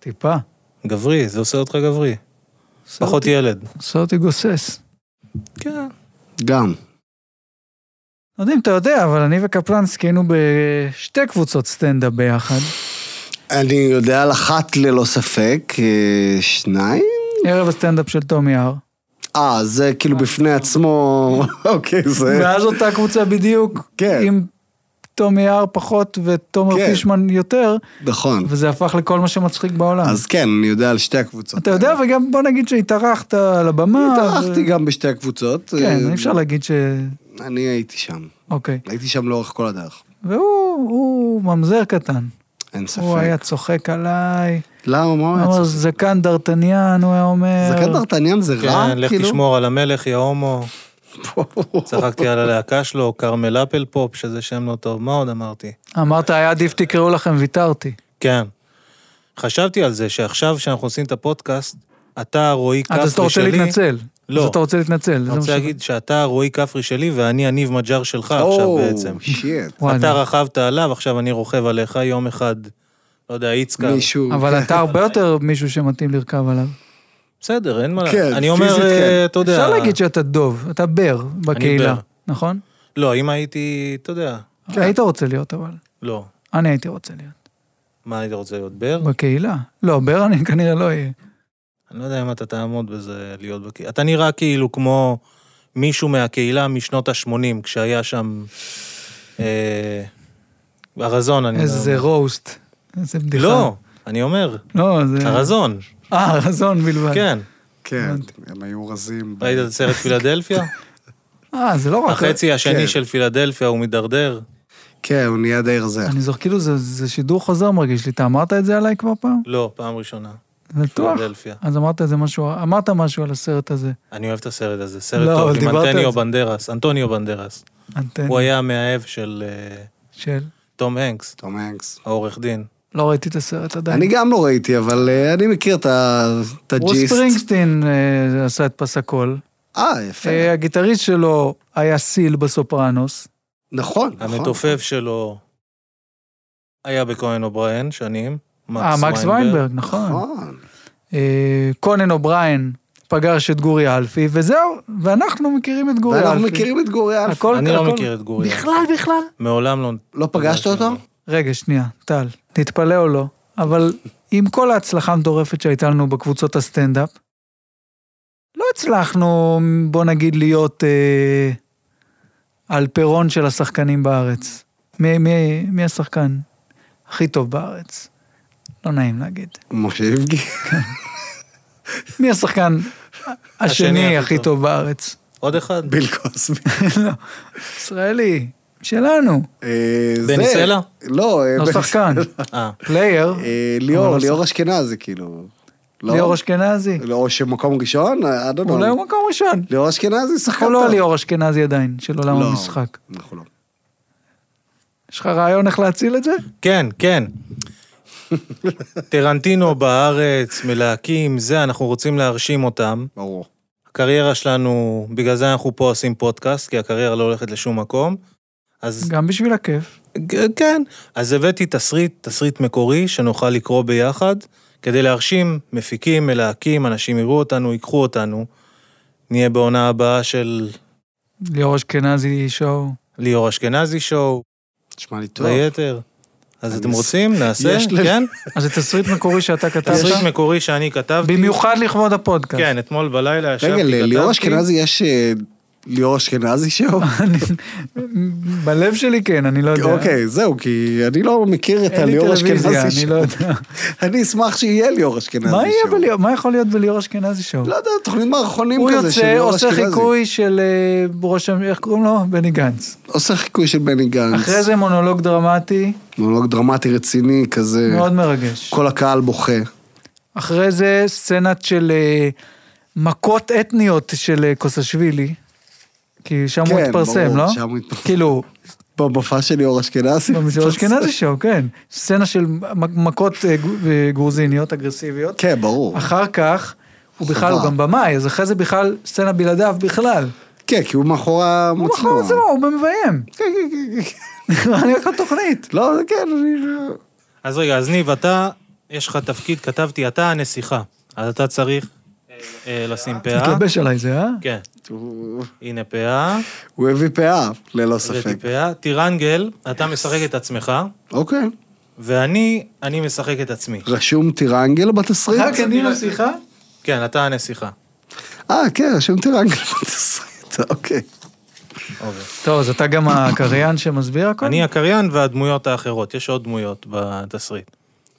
Speaker 1: טיפה.
Speaker 2: גברי, זה עושה אותך גברי. פחות ילד.
Speaker 1: עושה אותי גוסס.
Speaker 2: כן.
Speaker 3: גם.
Speaker 1: לא יודע אם אתה יודע, אבל אני וקפלנסקי היינו בשתי קבוצות סטנדאפ ביחד.
Speaker 3: אני יודע על אחת ללא ספק, אה, שניים?
Speaker 1: ערב הסטנדאפ של תום יער.
Speaker 3: אה, זה כאילו בפני עצמו, אוקיי, זה...
Speaker 1: ואז אותה קבוצה בדיוק,
Speaker 3: כן.
Speaker 1: עם תום יער פחות ותומר
Speaker 3: כן.
Speaker 1: פישמן יותר,
Speaker 3: נכון.
Speaker 1: וזה הפך לכל מה שמצחיק בעולם.
Speaker 3: אז כן, אני יודע על שתי הקבוצות.
Speaker 1: אתה יודע, וגם בוא נגיד שהתארחת על הבמה.
Speaker 3: התארחתי
Speaker 1: ו-
Speaker 3: גם בשתי הקבוצות.
Speaker 1: אה, כן,
Speaker 3: אה,
Speaker 1: אי אפשר להגיד ש...
Speaker 3: אני הייתי שם.
Speaker 1: אוקיי.
Speaker 3: הייתי שם לאורך כל הדרך.
Speaker 1: והוא הוא ממזר קטן.
Speaker 3: אין ספק.
Speaker 1: הוא היה צוחק עליי.
Speaker 3: למה? מה הוא
Speaker 1: הוא
Speaker 3: היה
Speaker 1: אמר,
Speaker 3: צריך?
Speaker 1: זקן דרטניאן, הוא היה אומר.
Speaker 3: זקן דרטניאן זה רע?
Speaker 2: כן, לך
Speaker 3: כאילו?
Speaker 2: תשמור על המלך, יא הומו. צחקתי על הלהקה שלו, כרמל אפל פופ, שזה שם לא טוב. מה עוד אמרתי?
Speaker 1: אמרת, היה עדיף תקראו לכם, ויתרתי.
Speaker 2: כן. חשבתי על זה שעכשיו שאנחנו עושים את הפודקאסט, אתה הרועי כפרי שלי.
Speaker 1: אה, אז אתה רוצה להתנצל.
Speaker 2: לא.
Speaker 1: אז אתה רוצה להתנצל. זה
Speaker 2: אני
Speaker 1: מה ש-
Speaker 2: רוצה להגיד שאתה הרועי כפרי שלי ואני הניב מג'אר שלך עכשיו
Speaker 3: או,
Speaker 2: בעצם.
Speaker 3: שיט.
Speaker 1: וואי,
Speaker 2: אתה
Speaker 1: אני-
Speaker 2: רכבת עליו, עכשיו אני רוכב עליך יום אחד, לא יודע, איצקר.
Speaker 3: מישהו... כן,
Speaker 1: אבל אתה הרבה יותר מישהו שמתאים לרכב עליו.
Speaker 2: בסדר, אין מה...
Speaker 3: כן,
Speaker 2: אני אומר,
Speaker 3: פיזית
Speaker 2: אה,
Speaker 3: כן.
Speaker 2: אתה יודע...
Speaker 1: אפשר להגיד שאתה דוב, אתה בר בקהילה,
Speaker 2: בר.
Speaker 1: נכון?
Speaker 2: לא, אם הייתי, אתה יודע,
Speaker 1: היית רוצה להיות אבל.
Speaker 2: לא.
Speaker 1: אני הייתי רוצה להיות.
Speaker 2: מה היית רוצה להיות, בר?
Speaker 1: בקהילה. לא, בר אני כנראה לא אהיה.
Speaker 2: אני לא יודע אם אתה תעמוד בזה להיות בקהילה. אתה נראה כאילו כמו מישהו מהקהילה משנות ה-80, כשהיה שם... אה, ארזון, אני
Speaker 1: איזה
Speaker 2: אומר.
Speaker 1: רוסט. איזה בדיחה.
Speaker 2: לא, אני אומר,
Speaker 1: לא, זה...
Speaker 2: ארזון,
Speaker 1: אה, רזון בלבד.
Speaker 2: כן.
Speaker 3: כן, הם היו רזים. ב-
Speaker 2: ראית את הסרט פילדלפיה?
Speaker 1: כן. אה, זה לא רק...
Speaker 2: החצי
Speaker 3: כן.
Speaker 2: השני של פילדלפיה הוא מידרדר.
Speaker 3: כן, הוא נהיה די רזה.
Speaker 1: אני זוכר, כאילו זה- זה שידור חוזר מרגיש לי. אתה אמרת את זה עליי כבר פעם?
Speaker 2: לא, פעם ראשונה.
Speaker 1: בטוח.
Speaker 2: פילדלפיה.
Speaker 1: אז אמרת את זה משהו, אמרת משהו על הסרט הזה.
Speaker 2: אני אוהב את הסרט הזה, סרט
Speaker 1: לא,
Speaker 2: טוב,
Speaker 1: אבל
Speaker 2: עם
Speaker 1: דיברת על
Speaker 2: אנטוניו
Speaker 1: זה. כן.
Speaker 2: בנדרס, אנטוניו בנדרס.
Speaker 1: אנטנה.
Speaker 2: הוא היה המאהב של אה,
Speaker 1: של...
Speaker 2: תום הנקס,
Speaker 3: תום הנקס.
Speaker 2: העורך דין.
Speaker 1: לא ראיתי את הסרט עדיין.
Speaker 3: אני גם לא ראיתי, אבל אה, אני מכיר את ה- את
Speaker 1: רוס
Speaker 3: הג'יסט.
Speaker 1: ספרינגסטין אה, עשה את פסקול.
Speaker 3: אה, יפה.
Speaker 1: אה, הגיטריסט שלו היה סיל בסופרנוס.
Speaker 3: נכון, נכון.
Speaker 2: המתופף שלו היה בכהן אובריין שנים,
Speaker 1: אה, מקס ויינברג, נכון.
Speaker 3: נכון.
Speaker 1: אה, קונן אובריין פגש את גורי אלפי, וזהו, ואנחנו מכירים את גורי אלפי.
Speaker 3: ואנחנו נכון. מכירים את גורי אלפי.
Speaker 1: הכל-
Speaker 2: אני
Speaker 1: הכל-
Speaker 2: לא מכיר את גורי.
Speaker 1: בכלל, בכלל.
Speaker 2: מעולם לא...
Speaker 3: לא פגשת
Speaker 2: פגשתי
Speaker 3: אותו?
Speaker 1: רגע, שנייה, טל, תתפלא או לא, אבל עם כל ההצלחה המטורפת שהייתה לנו בקבוצות הסטנדאפ, לא הצלחנו, בוא נגיד, להיות אה, על פירון של השחקנים בארץ. מי, מי, מי השחקן הכי טוב בארץ? לא נעים להגיד.
Speaker 3: משה יבגי.
Speaker 1: מי השחקן השני
Speaker 2: השני הכי
Speaker 1: הכי
Speaker 2: טוב.
Speaker 1: טוב בארץ?
Speaker 2: עוד אחד?
Speaker 3: ביל קוסבי.
Speaker 1: לא, ישראלי, שלנו,
Speaker 3: אה, זה-
Speaker 2: בני סלע?
Speaker 3: לא, אה,
Speaker 1: לא
Speaker 3: בני-
Speaker 1: שחקן,
Speaker 2: אה,
Speaker 1: פלייר,
Speaker 3: אה,
Speaker 1: אבל
Speaker 3: ליאור,
Speaker 1: לא
Speaker 3: ליאור אשכנזי, כאילו. לא?
Speaker 1: ליאור אשכנזי.
Speaker 3: לא, או שמקום ראשון? אה, I don't know.
Speaker 1: אולי הוא מקום ראשון.
Speaker 3: ליאור אשכנזי, שחקן
Speaker 1: אנחנו
Speaker 3: טוב.
Speaker 1: לא על ליאור אשכנזי עדיין, של עולם
Speaker 3: לא,
Speaker 1: המשחק.
Speaker 3: אנחנו לא.
Speaker 1: יש לך רעיון איך להציל את זה?
Speaker 2: כן, כן. טרנטינו בארץ, מלהקים, זה, אנחנו רוצים להרשים אותם.
Speaker 3: ברור.
Speaker 2: הקריירה שלנו, בגלל זה אנחנו פה עושים פודקאסט, כי הקריירה לא הולכת לשום מקום. אז
Speaker 1: גם בשביל הכיף.
Speaker 2: ג- כן, אז הבאתי תסריט, תסריט מקורי, שנוכל לקרוא ביחד, כדי להרשים מפיקים, מלהקים, אנשים יראו אותנו, ייקחו אותנו. נהיה בעונה הבאה של
Speaker 1: ליאור אשכנזי שואו.
Speaker 2: ליאור אשכנזי שואו,
Speaker 3: נשמע לי טוב.
Speaker 2: ויתר. אז אתם
Speaker 3: אני-
Speaker 2: רוצים? נעשה?
Speaker 3: יש לי-
Speaker 2: כן?
Speaker 1: אז זה תסריט מקורי שאתה
Speaker 2: תסריט
Speaker 1: כתבת?
Speaker 2: מקורי שאני כתבתי.
Speaker 1: במיוחד לכבוד הפודקאסט.
Speaker 2: כן, אתמול בלילה ישבתי,
Speaker 3: רגע,
Speaker 2: כתבתי.
Speaker 3: לליאור אשכנזי יש אה, ליאור אשכנזי שם?
Speaker 1: בלב שלי כן, אני לא יודע.
Speaker 3: אוקיי, זהו, כי אני לא מכיר את
Speaker 1: אין לי
Speaker 3: הליאור אשכנזי
Speaker 1: טלוויזיה, אני
Speaker 3: שם.
Speaker 1: לא יודע.
Speaker 3: אני אשמח שיהיה ליאור אשכנזי
Speaker 1: מה יהיה
Speaker 3: שם.
Speaker 1: בליאור, מה יכול להיות בליאור אשכנזי שואו?
Speaker 3: אוקיי, לא יודע, תוכנית מערכונים
Speaker 1: הוא
Speaker 3: כזה של
Speaker 1: יוצא,
Speaker 3: ליאור
Speaker 1: עושה
Speaker 3: אשכנזי.
Speaker 1: חיקוי של אה, ראש המ... איך קוראים לו? בני גנץ.
Speaker 3: עושה חיקוי של בני גנץ.
Speaker 1: אחרי זה מונולוג דרמטי,
Speaker 3: מונולוג דרמטי רציני כזה.
Speaker 1: מאוד מרגש.
Speaker 3: כל הקהל בוכה.
Speaker 1: אחרי זה סצנת של אה, מכות אתניות של אה, קוסאשווילי, כי שם הוא
Speaker 3: כן,
Speaker 1: התפרסם,
Speaker 3: ברור,
Speaker 1: לא?
Speaker 3: שם הוא התפרסם.
Speaker 1: כאילו,
Speaker 3: במופע של ליאור אשכנזי.
Speaker 1: במסגרת אשכנזי שואו, כן. סצנה של מ- מכות אה, גו- אה, גרוזיניות אגרסיביות.
Speaker 3: כן, ברור.
Speaker 1: אחר כך, הוא בכלל,
Speaker 3: חובה.
Speaker 1: הוא גם במאי, אז אחרי זה בכלל סצנה בלעדיו בכלל.
Speaker 3: כן, כי הוא מאחורי
Speaker 1: הוא
Speaker 3: המצלמה.
Speaker 1: מכר את זה, הוא במביים.
Speaker 3: כן, כן, כן,
Speaker 1: נראה לי הכל תוכנית.
Speaker 3: כן. לא, זה כן, אני...
Speaker 2: אז רגע, אז ניב, אתה, יש לך תפקיד, כתבתי, אתה הנסיכה. אז אתה צריך אה, לשים פאה.
Speaker 1: התלבש עליי זה, אה?
Speaker 2: כן,
Speaker 3: הוא-
Speaker 2: הנה פאה,
Speaker 3: הוא הביא פאה, ללא ספק.
Speaker 2: הבאתי פאה. טירנגל, אתה משחק את עצמך,
Speaker 3: אוקיי.
Speaker 2: ואני, אני משחק את עצמי.
Speaker 3: רשום טירנגל בתסריט?
Speaker 1: רק אני נסיכה?
Speaker 2: כן, אתה הנסיכה.
Speaker 3: אה, כן, רשום טירנגל בתסריט, אוקיי.
Speaker 2: אוקיי.
Speaker 1: טוב, אז אתה גם הקריין שמסביר
Speaker 3: כן.
Speaker 1: הכל?
Speaker 2: אני הקריין והדמויות האחרות, יש עוד דמויות בתסריט.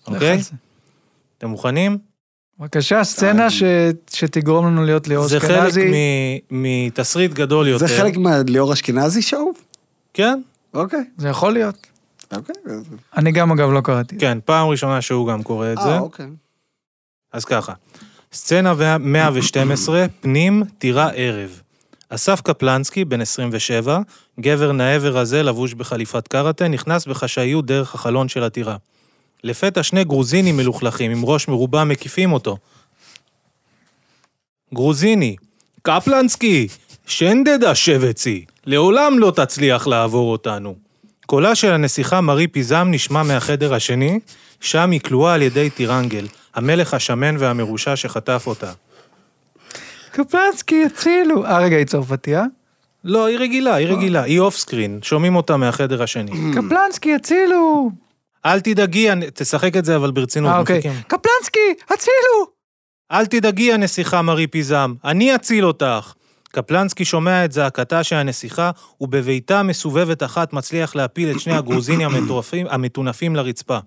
Speaker 1: לך
Speaker 2: אוקיי?
Speaker 1: על זה.
Speaker 2: אתם מוכנים?
Speaker 1: בבקשה, סצנה ש- שתגרום לנו להיות ליאור
Speaker 2: זה חלק
Speaker 1: אשכנזי.
Speaker 2: מ- מתסריט גדול יותר.
Speaker 3: זה חלק מהליאור אשכנזי שואו?
Speaker 2: כן,
Speaker 3: אוקיי.
Speaker 1: זה יכול להיות.
Speaker 3: אוקיי.
Speaker 1: אני גם, אגב, לא קראתי.
Speaker 2: כן, פעם ראשונה שהוא גם קורא את זה.
Speaker 3: אה, אוקיי.
Speaker 2: אז ככה, סצנה ו- 112, פנים, טירה ערב. אסף קפלנסקי, בן 27, גבר נאה ורזה לבוש בחליפת קראטה, נכנס בחשאיות דרך החלון של הטירה. לפתע שני גרוזינים מלוכלכים עם ראש מרובע מקיפים אותו. גרוזיני, קפלנסקי, שנדדה שבצי, לעולם לא תצליח לעבור אותנו. קולה של הנסיכה מרי פיזם נשמע מהחדר השני, שם היא כלואה על ידי טירנגל, המלך השמן והמרושע שחטף אותה.
Speaker 1: קפלנסקי, הצילו. אה, רגע, היא צרפתייה?
Speaker 2: לא, היא רגילה,
Speaker 1: אה.
Speaker 2: היא רגילה, היא אוף סקרין, שומעים אותה מהחדר השני.
Speaker 1: קפלנסקי, הצילו!
Speaker 2: אל תדאגי, הנ- תשחק את זה אבל ברצינות,
Speaker 1: אה, אוקיי.
Speaker 2: מחכים.
Speaker 1: קפלנסקי, הצילו!
Speaker 2: אל תדאגי, הנסיכה מרי פיזם, אני אציל אותך. קפלנסקי שומע את זעקתה של הנסיכה, ובביתה מסובבת אחת מצליח להפיל את שני הגרוזינים המטורפים- המטונפים לרצפה.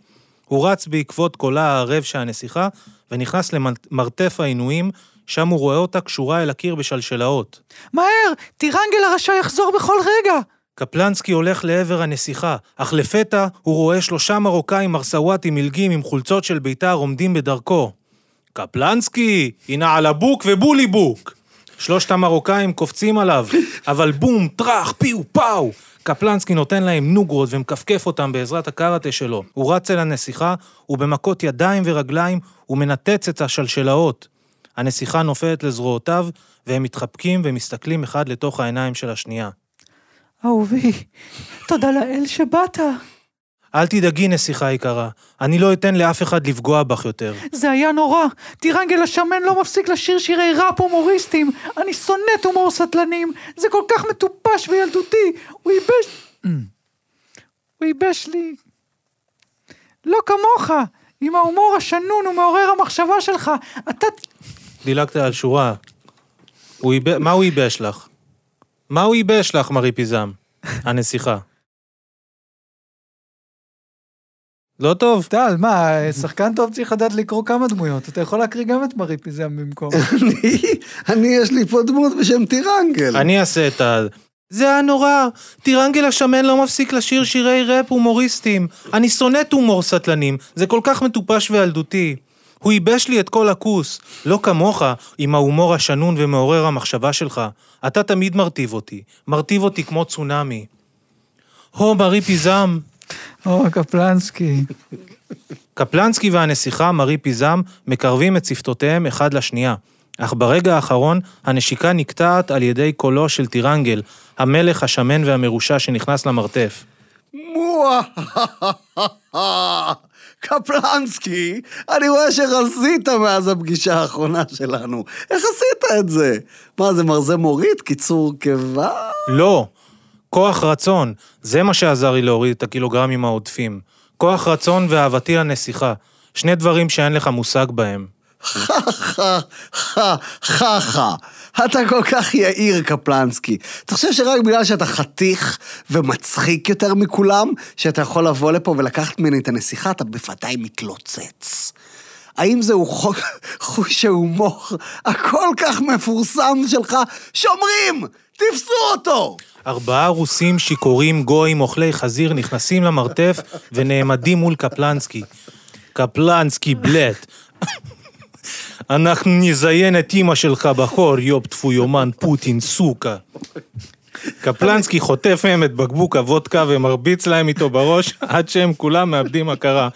Speaker 2: הוא רץ בעקבות קולה הערב של הנסיכה, ונכנס למרתף העינויים, שם הוא רואה אותה קשורה אל הקיר בשלשלאות.
Speaker 1: מהר, טירנגל הרשע יחזור בכל רגע!
Speaker 2: קפלנסקי הולך לעבר הנסיכה, אך לפתע הוא רואה שלושה מרוקאים מרסוואטים מלגים עם חולצות של בית"ר עומדים בדרכו. קפלנסקי, הנה על הבוק ובולי בוק! שלושת המרוקאים קופצים עליו, אבל בום, טראח, פיו, פאו! קפלנסקי נותן להם נוגרות ומכפכף אותם בעזרת הקראטה שלו. הוא רץ אל הנסיכה, ובמכות ידיים ורגליים הוא מנתץ את השלשלאות. הנסיכה נופלת לזרועותיו, והם מתחבקים ומסתכלים אחד לתוך העיניים של השנייה.
Speaker 1: אהובי, תודה לאל שבאת.
Speaker 2: אל תדאגי, נסיכה יקרה, אני לא אתן לאף אחד לפגוע בך יותר.
Speaker 1: זה היה נורא. טירנגל השמן לא מפסיק לשיר שירי ראפ הומוריסטים. אני שונאת הומור סטלנים. זה כל כך מטופש וילדותי. הוא ייבש... הוא ייבש לי. לא כמוך. עם ההומור השנון ומעורר המחשבה שלך. אתה...
Speaker 2: דילגת על שורה. הוא איב... מה הוא ייבש לך? מה הוא ייבש לך, מרי פיזם? הנסיכה. לא טוב.
Speaker 1: טל, מה, שחקן טוב צריך לדעת לקרוא כמה דמויות. אתה יכול להקריא גם את מרי פיזם במקום.
Speaker 3: אני- אני, יש לי פה דמות בשם טירנגל.
Speaker 2: אני אעשה את ה... זה היה נורא, טירנגל השמן לא מפסיק לשיר שירי ראפ הומוריסטים. אני שונאת הומור סטלנים, זה כל כך מטופש וילדותי. הוא ייבש לי את כל הכוס, לא כמוך, עם ההומור השנון ומעורר המחשבה שלך. אתה תמיד מרטיב אותי, מרטיב אותי כמו צונאמי. הו, מרי פיזם.
Speaker 1: או, קפלנסקי.
Speaker 2: קפלנסקי והנסיכה מרי פיזם מקרבים את שפתותיהם אחד לשנייה, אך ברגע האחרון הנשיקה נקטעת על ידי קולו של טירנגל, המלך השמן והמרושע שנכנס למרתף.
Speaker 3: מואה, קפלנסקי, אני רואה שרזית מאז הפגישה האחרונה שלנו. איך עשית את זה? מה, זה מרזה מוריד? קיצור קיבה?
Speaker 2: לא! כוח רצון, זה מה שעזר לי להוריד את הקילוגרמים העודפים. כוח רצון ואהבתי לנסיכה, שני דברים שאין לך מושג בהם.
Speaker 3: חה חה חה חה חה. אתה כל כך יהיר, קפלנסקי. אתה חושב שרק בגלל שאתה חתיך ומצחיק יותר מכולם, שאתה יכול לבוא לפה ולקחת ממני את הנסיכה, אתה בוודאי מתלוצץ. האם זהו חוק- חוש ההומור הכל כך מפורסם שלך? שומרים! תפסו אותו!
Speaker 2: ארבעה רוסים שיכורים גויים אוכלי חזיר נכנסים למרתף ונעמדים מול קפלנסקי. קפלנסקי בלט. אנחנו נזיין את אמא שלך בחור, יוב טפו יומן פוטין, סוכה. קפלנסקי חוטף מהם את בקבוק הוודקה ומרביץ להם איתו בראש עד שהם כולם מאבדים הכרה.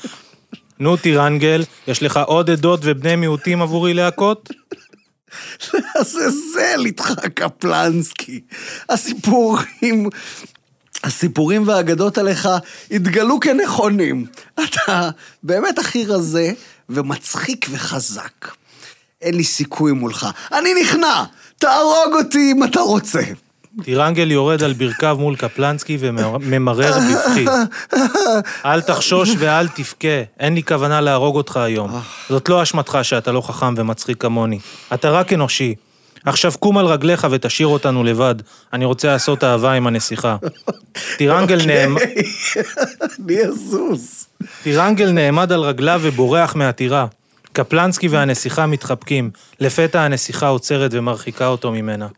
Speaker 2: נו טירנגל, יש לך עוד עדות ובני מיעוטים עבורי להכות?
Speaker 3: לעזאזל איתך קפלנסקי. הסיפורים, הסיפורים והאגדות עליך התגלו כנכונים. אתה באמת הכי רזה ומצחיק וחזק. אין לי סיכוי מולך. אני נכנע! תהרוג אותי אם אתה רוצה.
Speaker 2: טירנגל יורד על ברכיו מול קפלנסקי וממרר בבכי. אל תחשוש ואל תבכה, אין לי כוונה להרוג אותך היום. זאת לא אשמתך שאתה לא חכם ומצחיק כמוני. אתה רק אנושי. עכשיו קום על רגליך ותשאיר אותנו לבד. אני רוצה לעשות אהבה עם הנסיכה. טירנגל, נעמ...
Speaker 3: אוקיי? אני אזוז.
Speaker 2: טירנגל נעמד על רגליו ובורח מהטירה. קפלנסקי והנסיכה מתחבקים. לפתע הנסיכה עוצרת ומרחיקה אותו ממנה.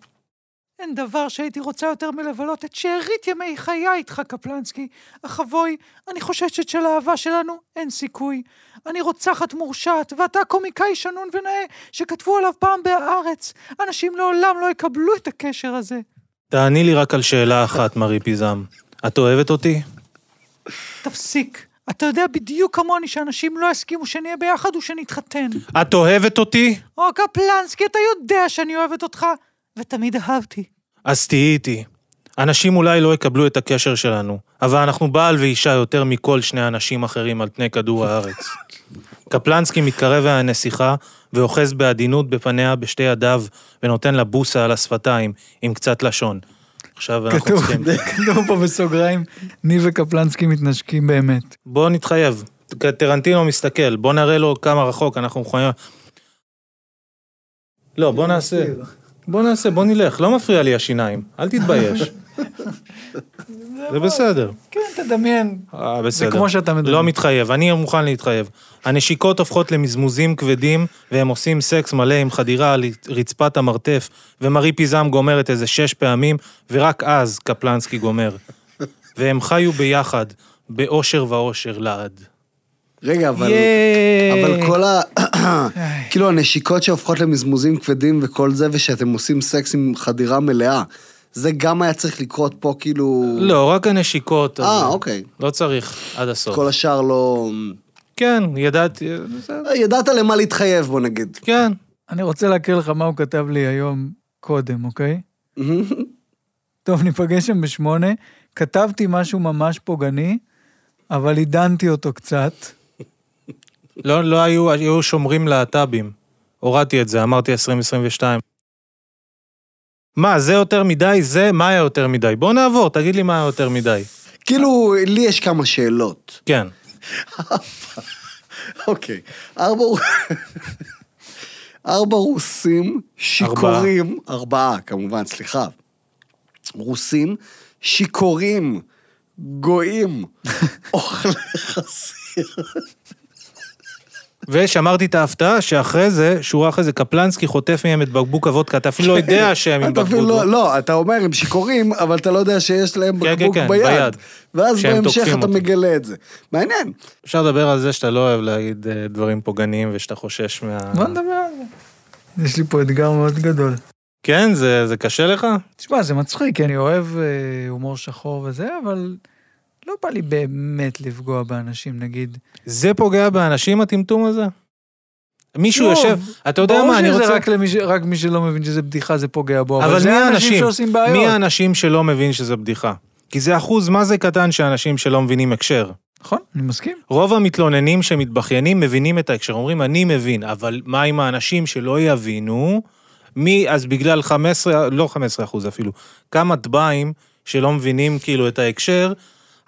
Speaker 1: אין דבר שהייתי רוצה יותר מלבלות את שארית ימי חיי איתך, קפלנסקי. אך אבוי, אני חוששת שלאהבה שלנו אין סיכוי. אני רוצחת מורשעת, ואתה קומיקאי שנון ונאה שכתבו עליו פעם בהארץ. אנשים לעולם לא יקבלו את הקשר הזה.
Speaker 2: תעני לי רק על שאלה אחת, מרי פיזם. את אוהבת אותי?
Speaker 1: תפסיק. אתה יודע בדיוק כמוני שאנשים לא יסכימו שנהיה ביחד ושנתחתן.
Speaker 2: את אוהבת אותי?
Speaker 1: או קפלנסקי, אתה יודע שאני אוהבת אותך, ותמיד אהבתי.
Speaker 2: אז תהיי איתי. אנשים אולי לא יקבלו את הקשר שלנו, אבל אנחנו בעל ואישה יותר מכל שני אנשים אחרים על פני כדור הארץ. קפלנסקי מתקרב אל הנסיכה, ואוחז בעדינות בפניה בשתי ידיו, ונותן לה בוסה על השפתיים, עם קצת לשון. עכשיו אנחנו
Speaker 1: כתוב,
Speaker 2: צריכים...
Speaker 1: כתוב פה בסוגריים, ניב וקפלנסקי מתנשקים באמת.
Speaker 2: בוא נתחייב. ט- טרנטינו מסתכל, בוא נראה לו כמה רחוק אנחנו מוכנים... לא, בוא נעשה. בוא נעשה, בוא נלך. לא מפריע לי השיניים, אל תתבייש. זה בסדר.
Speaker 1: כן, תדמיין.
Speaker 2: אה, בסדר.
Speaker 1: כמו שאתה מדבר.
Speaker 2: לא מתחייב, אני מוכן להתחייב. הנשיקות הופכות למזמוזים כבדים, והם עושים סקס מלא עם חדירה על רצפת המרתף, ומרי פיזם גומרת איזה שש פעמים, ורק אז קפלנסקי גומר. והם חיו ביחד, באושר ואושר לעד.
Speaker 3: רגע, אבל...
Speaker 1: ייי.
Speaker 3: אבל כל ה... כאילו, הנשיקות שהופכות למזמוזים כבדים וכל זה, ושאתם עושים סקס עם חדירה מלאה, זה גם היה צריך לקרות פה, כאילו...
Speaker 2: לא, רק הנשיקות. אז
Speaker 3: אה, אוקיי.
Speaker 2: לא צריך עד הסוף.
Speaker 3: כל השאר לא...
Speaker 2: כן, ידעתי, בסדר,
Speaker 3: ידעת למה להתחייב, בוא נגיד.
Speaker 2: כן.
Speaker 1: אני רוצה להקריא לך מה הוא כתב לי היום קודם, אוקיי? טוב, ניפגש שם בשמונה. כתבתי משהו ממש פוגעני, אבל עידנתי אותו קצת.
Speaker 2: לא, לא היו, היו שומרים להט"בים. הורדתי את זה, אמרתי 2022. מה, זה יותר מדי? זה? מה היה יותר מדי? בוא נעבור, תגיד לי מה היה יותר מדי.
Speaker 3: כאילו, לי יש כמה שאלות.
Speaker 2: כן.
Speaker 3: אוקיי. ארבע... ארבע רוסים שיכורים, ארבעה כמובן, סליחה. רוסים שיכורים, גויים, אוכלי חסיר.
Speaker 2: ושמרתי את ההפתעה שאחרי זה, שורה אחרי זה, קפלנסקי חוטף מהם את בקבוק הוודקה, אתה אפילו לא יודע שהם עם
Speaker 3: אתה
Speaker 2: בקבוק.
Speaker 3: אפילו לא,
Speaker 2: וודקה.
Speaker 3: לא, אתה אומר הם שיכורים, אבל אתה לא יודע שיש להם
Speaker 2: כן,
Speaker 3: בקבוק
Speaker 2: כן,
Speaker 3: ביד.
Speaker 2: ביד.
Speaker 3: ואז
Speaker 2: שהם
Speaker 3: בהמשך
Speaker 2: תוקפים
Speaker 3: אתה
Speaker 2: אותם.
Speaker 3: מגלה את זה. מעניין.
Speaker 2: אפשר לדבר על זה שאתה לא אוהב להגיד אה, דברים פוגעניים ושאתה חושש מה...
Speaker 1: בוא נדבר על זה. יש לי פה אתגר מאוד גדול.
Speaker 2: כן, זה, זה קשה לך?
Speaker 1: תשמע, זה מצחיק, כי אני אוהב אה, הומור שחור וזה, אבל לא בא לי באמת לפגוע באנשים, נגיד.
Speaker 2: זה פוגע באנשים, הטמטום הזה? מישהו
Speaker 1: לא,
Speaker 2: יושב, אתה יודע מה, אני
Speaker 1: ברור שזה
Speaker 2: רוצה...
Speaker 1: רק, למי ש... רק מי שלא מבין שזה בדיחה, זה פוגע בו.
Speaker 2: אבל
Speaker 1: זה
Speaker 2: מי
Speaker 1: האנשים
Speaker 2: האנשים?
Speaker 1: שעושים בעיות.
Speaker 2: מי האנשים שלא מבין שזה בדיחה? כי זה אחוז מה זה קטן שאנשים שלא מבינים הקשר.
Speaker 1: נכון, אני מסכים.
Speaker 2: רוב המתלוננים שמתבכיינים מבינים את ההקשר, אומרים אני מבין, אבל מה עם האנשים שלא יבינו? מי, אז בגלל 15, לא 15 אחוז אפילו, כמה טבעים שלא מבינים כאילו את ההקשר,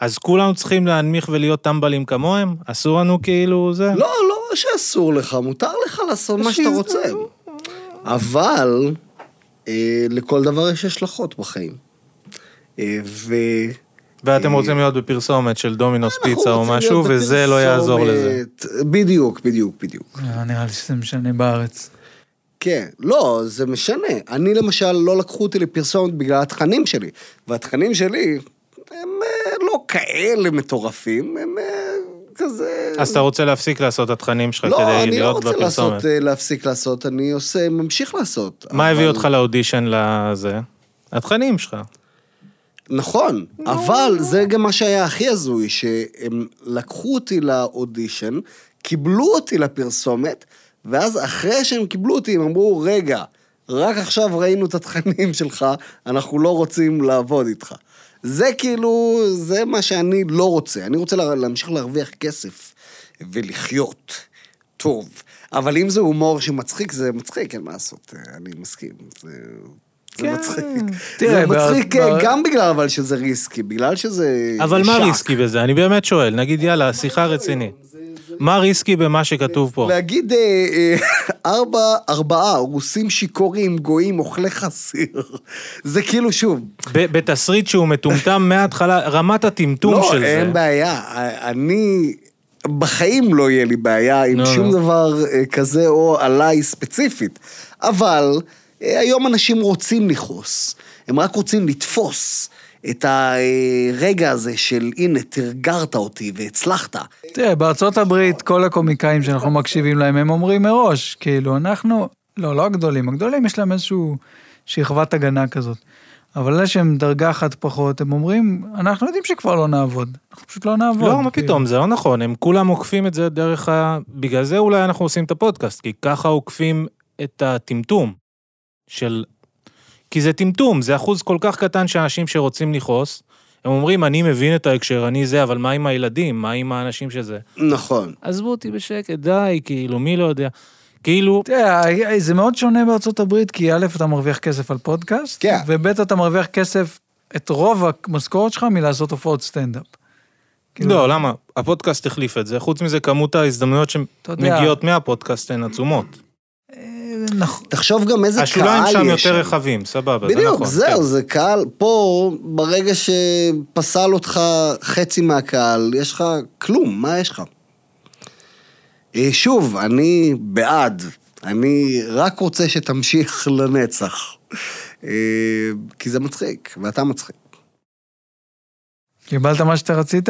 Speaker 2: אז כולנו צריכים להנמיך ולהיות טמבלים כמוהם? אסור לנו כאילו זה?
Speaker 3: לא, לא, לא שאסור לך, מותר לך לעשות מה שאתה רוצה. אבל אה, לכל דבר יש השלכות בחיים. אה, ו...
Speaker 2: ואתם רוצים להיות בפרסומת של דומינוס פיצה
Speaker 3: אה, אנחנו
Speaker 2: או
Speaker 3: רוצים
Speaker 2: משהו,
Speaker 3: להיות
Speaker 2: וזה לא יעזור
Speaker 3: בפרסומת.
Speaker 2: לזה.
Speaker 3: בדיוק, בדיוק, בדיוק.
Speaker 1: לא, נראה לי שזה משנה בארץ.
Speaker 3: כן, לא, זה משנה. אני למשל, לא לקחו אותי לפרסומת בגלל התכנים שלי. והתכנים שלי, הם אה, לא כאלה מטורפים, הם אה, כזה...
Speaker 2: אז אתה רוצה להפסיק לעשות את התכנים שלך
Speaker 3: לא,
Speaker 2: כדי
Speaker 3: אני לא
Speaker 2: להיות
Speaker 3: רוצה
Speaker 2: בפרסומת.
Speaker 3: לעשות, אה, להפסיק לעשות, אני עושה, ממשיך לעשות.
Speaker 2: מה
Speaker 3: אבל- אה,
Speaker 2: הביא אותך לאודישן לזה? התכנים שלך.
Speaker 3: נכון, אבל זה גם מה שהיה הכי הזוי, שהם לקחו אותי לאודישן, קיבלו אותי לפרסומת, ואז אחרי שהם קיבלו אותי, הם אמרו, רגע, רק עכשיו ראינו את התכנים שלך, אנחנו לא רוצים לעבוד איתך. זה כאילו, זה מה שאני לא רוצה. אני רוצה לה- להמשיך להרוויח כסף ולחיות טוב. אבל אם זה הומור שמצחיק, זה מצחיק, אין מה לעשות, אה, אני מסכים. זה... זה מצחיק.
Speaker 1: תראה,
Speaker 3: זה
Speaker 1: ב-
Speaker 3: מצחיק
Speaker 1: ב-
Speaker 3: אה, גם בגלל אבל שזה ריסקי, בגלל שזה...
Speaker 2: אבל מה
Speaker 3: שק. אה,
Speaker 2: ריסקי בזה? אני באמת שואל. נגיד, יאללה, שיחה רצינית. מה ריסקי במה שכתוב פה?
Speaker 3: להגיד אה, אה, ארבע, ארבעה, רוסים שיכורים, גויים, אוכלי חסיר. זה כאילו, שוב,
Speaker 2: ב- בתסריט שהוא מטומטם מההתחלה, רמת הטמטום
Speaker 3: לא,
Speaker 2: של זה.
Speaker 3: אין בעיה. אני... בחיים לא יהיה לי בעיה עם
Speaker 2: לא,
Speaker 3: שום
Speaker 2: לא.
Speaker 3: דבר אה, כזה או עליי ספציפית. אבל אה, היום אנשים רוצים לכעוס. הם רק רוצים לתפוס את הרגע הזה של הנה, תרגרת אותי והצלחת.
Speaker 1: תראה, בארצות הברית כל הקומיקאים שאנחנו מקשיבים להם, הם אומרים מראש, כאילו, אנחנו, לא, לא הגדולים, הגדולים יש להם איזשהו שכבת הגנה כזאת. אבל אלה שהם דרגה אחת פחות, הם אומרים, אנחנו יודעים שכבר לא נעבוד, אנחנו פשוט לא נעבוד.
Speaker 2: לא, מה
Speaker 1: כאילו.
Speaker 2: פתאום, זה לא נכון, הם כולם עוקפים את זה דרך ה... בגלל זה אולי אנחנו עושים את הפודקאסט, כי ככה עוקפים את הטמטום של... כי זה טמטום, זה אחוז כל כך קטן של אנשים שרוצים לכעוס. הם אומרים, אני מבין את ההקשר, אני זה, אבל מה עם הילדים? מה עם האנשים שזה?
Speaker 3: נכון.
Speaker 2: עזבו אותי בשקט, די, כאילו, מי לא יודע. כאילו,
Speaker 1: תראה, אה, זה מאוד שונה בארצות הברית, כי א', אתה מרוויח כסף על פודקאסט,
Speaker 3: כן.
Speaker 1: וב', אתה מרוויח כסף, את רוב המשכורת שלך מלעשות הופעות סטנדאפ. כאילו-
Speaker 2: לא, למה? הפודקאסט החליף את זה. חוץ מזה, כמות ההזדמנויות
Speaker 1: אתה יודע.
Speaker 2: שמגיעות מהפודקאסט הן עצומות. אה,
Speaker 1: נכון.
Speaker 3: תחשוב גם איזה קהל יש
Speaker 2: השוליים שם יותר רחבים, סבבה, זה נכון.
Speaker 3: בדיוק,
Speaker 2: כן.
Speaker 3: זהו, זה קהל, פה, ברגע שפסל אותך חצי מהקהל, יש לך כלום, מה יש לך? אה, שוב, אני בעד, אני רק רוצה שתמשיך לנצח. אה, כי זה מצחיק, ואתה מצחיק.
Speaker 1: קיבלת מה שאתה רצית?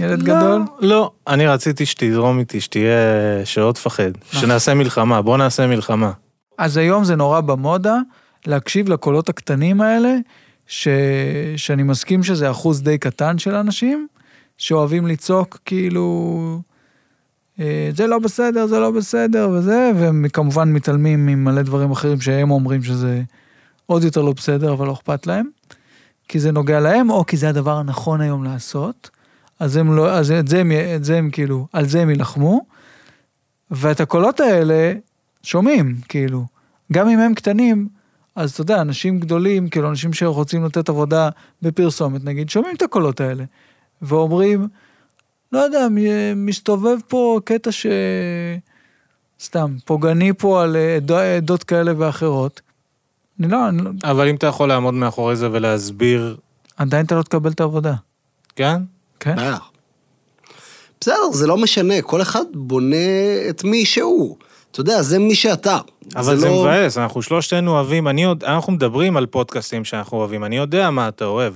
Speaker 1: ילד
Speaker 2: לא,
Speaker 1: גדול?
Speaker 2: לא, אני רציתי שתזרום איתי, שתהיה, שלא תפחד. שנעשה מלחמה, בוא נעשה מלחמה.
Speaker 1: אז היום זה נורא במודה להקשיב לקולות הקטנים האלה, ש... שאני מסכים שזה אחוז די קטן של אנשים, שאוהבים לצעוק כאילו, אה, זה לא בסדר, זה לא בסדר וזה, והם כמובן מתעלמים ממלא דברים אחרים שהם אומרים שזה עוד יותר לא בסדר, אבל לא אכפת להם, כי זה נוגע להם, או כי זה הדבר הנכון היום לעשות. אז הם לא, אז את זה הם, את זה הם כאילו, על זה הם יילחמו. ואת הקולות האלה שומעים, כאילו. גם אם הם קטנים, אז אתה יודע, אנשים גדולים, כאילו אנשים שרוצים לתת עבודה בפרסומת, נגיד, שומעים את הקולות האלה. ואומרים, לא יודע, מ- מסתובב פה קטע ש... סתם, פוגעני פה על אה, עדו- עדות כאלה ואחרות. אני לא, אני לא,
Speaker 2: אבל אם אתה יכול לעמוד מאחורי זה ולהסביר,
Speaker 1: עדיין אתה לא תקבל את העבודה,
Speaker 2: כן?
Speaker 1: כן?
Speaker 3: בעיה. אה. בסדר, זה לא משנה, כל אחד בונה את מי שהוא. אתה יודע, זה מי שאתה.
Speaker 2: אבל זה
Speaker 3: לא-
Speaker 2: מבאס, אנחנו שלושתנו אוהבים, אני עוד, אנחנו מדברים על פודקאסטים שאנחנו אוהבים, אני יודע מה אתה אוהב.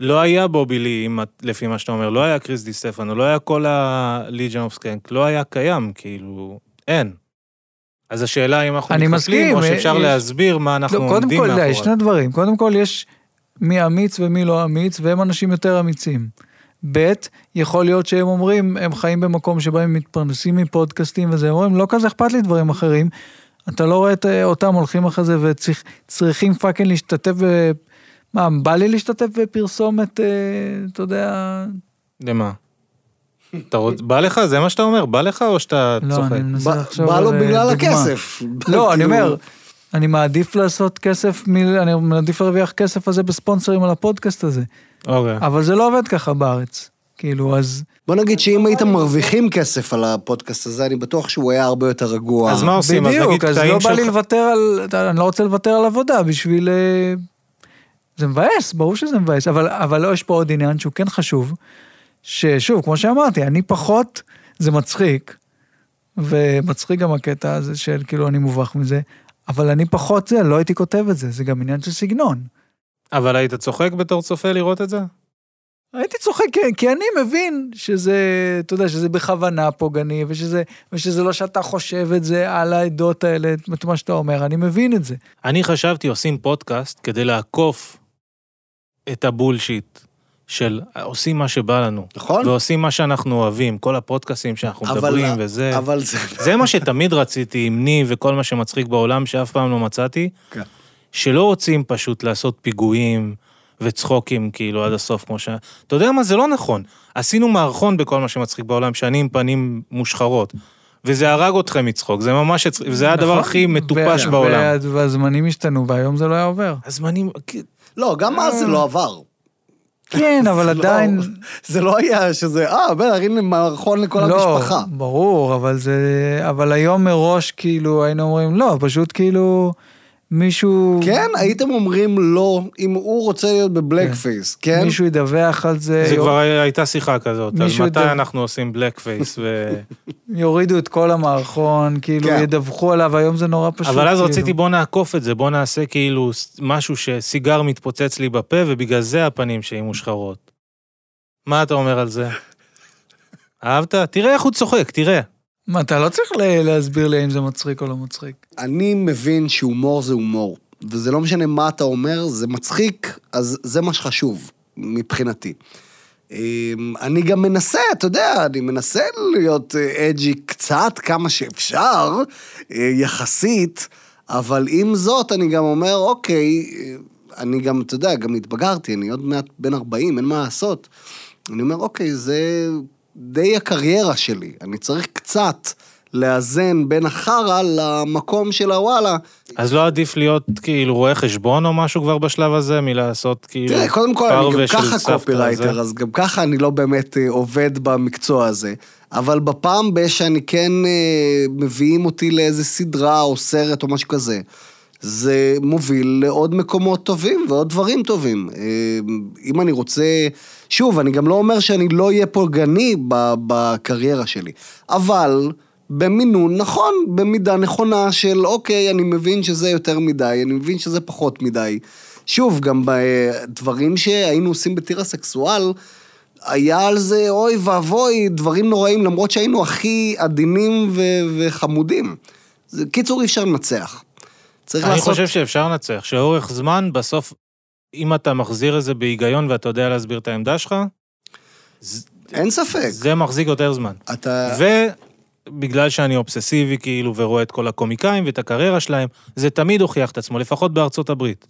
Speaker 2: לא היה בובי לי, אם את- לפי מה שאתה אומר, לא היה קריס די סטפנו, לא היה כל ה-Legion of Skank, לא היה קיים, כאילו, אין. אז השאלה אם אנחנו
Speaker 1: אני
Speaker 2: מתקפלים,
Speaker 1: מסכים,
Speaker 2: או שאפשר
Speaker 1: יש-
Speaker 2: להסביר מה אנחנו
Speaker 1: לא,
Speaker 2: עומדים
Speaker 1: קודם
Speaker 2: מאחורי.
Speaker 1: כל, לא, יש שני דברים. קודם כל, יש מי אמיץ ומי לא אמיץ, והם אנשים יותר אמיצים. ב', יכול להיות שהם אומרים, הם חיים במקום שבו הם מתפרנסים מפודקאסטים וזה, הם אומרים, לא כזה אכפת לי דברים אחרים. אתה לא רואה את אה, אותם הולכים אחרי זה וצריכים פאקינג להשתתף ב... מה, בא לי להשתתף בפרסומת, אה, אתה יודע...
Speaker 2: למה? אתה רוצ... בא לך? זה מה שאתה אומר? בא לך או שאתה
Speaker 1: לא,
Speaker 2: צוחק?
Speaker 1: אני מנסה
Speaker 3: בא-
Speaker 1: לחשוב
Speaker 3: בא לו
Speaker 1: על, אה,
Speaker 3: בגלל
Speaker 1: דוגמה.
Speaker 3: הכסף.
Speaker 1: לא,
Speaker 3: כאילו-
Speaker 1: אני אומר, אני מעדיף לעשות כסף, מ- אני מעדיף להרוויח כסף הזה בספונסרים על הפודקאסט הזה.
Speaker 2: אוקיי.
Speaker 1: אבל זה לא עובד לא ככה בארץ. כאילו, אז...
Speaker 3: בוא נגיד שאם הייתם מרוויחים כסף על הפודקאסט הזה, אני בטוח שהוא היה הרבה יותר רגוע.
Speaker 2: אז מה עושים? אז
Speaker 1: בדיוק,
Speaker 2: נגיד
Speaker 1: אז
Speaker 2: קטעים
Speaker 1: לא בא
Speaker 2: של-
Speaker 1: לי לוותר על... אתה יודע, אני לא רוצה לוותר על עבודה בשביל... אה, זה מבאס, ברור שזה מבאס, אבל, אבל לא, יש פה עוד עניין שהוא כן חשוב, ששוב, כמו שאמרתי, אני פחות, זה מצחיק, ומצחיק גם הקטע הזה של כאילו אני מובך מזה, אבל אני פחות זה, לא הייתי כותב את זה, זה גם עניין של סגנון.
Speaker 2: אבל היית צוחק בתור צופה לראות את זה?
Speaker 1: הייתי צוחק, כי- כי אני מבין שזה, אתה יודע, שזה בכוונה פוגעני, ושזה, ושזה לא שאתה חושב את זה על העדות האלה, את מה שאתה אומר, אני מבין את זה.
Speaker 2: אני חשבתי עושים פודקאסט כדי לעקוף את הבולשיט של עושים מה שבא לנו.
Speaker 3: נכון?
Speaker 2: ועושים מה שאנחנו אוהבים, כל הפודקאסים שאנחנו
Speaker 3: אבל-
Speaker 2: מדברים וזה.
Speaker 3: אבל זה...
Speaker 2: זה מה שתמיד רציתי עם ני וכל מה שמצחיק בעולם שאף פעם לא מצאתי.
Speaker 3: כן.
Speaker 2: שלא רוצים פשוט לעשות פיגועים וצחוקים כאילו עד הסוף כמו ש... אתה יודע מה? זה לא נכון. עשינו מערכון בכל מה שמצחיק בעולם, שאני עם פנים מושחרות. וזה הרג אתכם מצחוק, זה ממש... הצ- זה היה הדבר
Speaker 1: נכון?
Speaker 2: הכי מטופש
Speaker 1: וה-
Speaker 2: בעולם.
Speaker 1: וה- אוקיי. והזמנים השתנו, והיום זה לא היה עובר.
Speaker 2: הזמנים... כי-
Speaker 3: לא, גם אז זה לא עבר.
Speaker 1: כן, אבל
Speaker 3: זה לא-
Speaker 1: עדיין...
Speaker 3: זה לא היה שזה, אה, בטח, הנה מערכון לכל
Speaker 1: לא,
Speaker 3: המשפחה.
Speaker 1: ברור, אבל זה... אבל היום מראש, כאילו, היינו אומרים, לא, פשוט כאילו, מישהו...
Speaker 3: כן, הייתם אומרים לא, אם הוא רוצה להיות בבלק פייס, כן?
Speaker 1: מישהו ידווח על זה,
Speaker 2: זה
Speaker 1: יור-
Speaker 2: כבר היה- הייתה שיחה כזאת, על
Speaker 1: אוקיי. מישהו
Speaker 2: מתי
Speaker 1: יודע-
Speaker 2: אנחנו עושים בלק פייס ו...
Speaker 1: יורידו את כל המערכון, כאילו,
Speaker 3: כן.
Speaker 1: ידווחו עליו, היום זה נורא פשוט.
Speaker 2: אבל אז
Speaker 1: כאילו.
Speaker 2: רציתי בוא נעקוף את זה, בוא נעשה כאילו ס- משהו שסיגר מתפוצץ לי בפה ובגלל זה הפנים שלי מושחרות. מה אתה אומר על זה? אהבת? תראה איך הוא צוחק, תראה.
Speaker 1: מה, אתה לא צריך ל- להסביר לי אם זה מצחיק או לא מצחיק.
Speaker 3: אני מבין שהומור זה הומור, וזה לא משנה מה אתה אומר, זה מצחיק, אז זה מה שחשוב מבחינתי. אמ, אני גם מנסה, אתה יודע, אני מנסה להיות אה, אג'י קצת, כמה שאפשר, אה, יחסית, אבל עם זאת, אני גם אומר, אוקיי, אה, אני גם, אתה יודע, גם התבגרתי, אני עוד מעט בן 40, אין מה לעשות. אני אומר, אוקיי, זה די הקריירה שלי, אני צריך קצת לאזן בין החרא למקום של הוואלה.
Speaker 2: אז לא עדיף להיות כאילו רואה חשבון או משהו כבר בשלב הזה, מלעשות כאילו
Speaker 3: תראה, קודם כל, אני
Speaker 2: פרווה
Speaker 3: גם
Speaker 2: של
Speaker 3: ככה
Speaker 2: סבתא הזה?
Speaker 3: קופירייטר, אז גם ככה אני לא באמת אה, עובד במקצוע הזה. אבל בפעם ב- שאני כן אה, מביאים אותי לאיזה סדרה או סרט או משהו כזה, זה מוביל לעוד מקומות טובים ועוד דברים טובים. אה, אם אני רוצה... שוב, אני גם לא אומר שאני לא אהיה פולגני ב- בקריירה שלי, אבל... במינון נכון, במידה נכונה של אוקיי, אני מבין שזה יותר מדי, אני מבין שזה פחות מדי. שוב, גם בדברים שהיינו עושים בטיר הסקסואל, היה על זה אוי ואבוי, דברים נוראים, למרות שהיינו הכי עדינים ו- וחמודים. זה, קיצור, אי אפשר לנצח. צריך
Speaker 2: אני
Speaker 3: לעשות...
Speaker 2: חושב שאפשר לנצח, שאורך זמן בסוף, אם אתה מחזיר את זה בהיגיון ואתה יודע להסביר את העמדה שלך,
Speaker 3: אין ספק.
Speaker 2: זה מחזיק יותר זמן.
Speaker 3: אתה...
Speaker 2: ובגלל שאני אובססיבי כאילו ורואה את כל הקומיקאים ואת הקריירה שלהם, זה תמיד הוכיח את עצמו, לפחות בארצות הברית.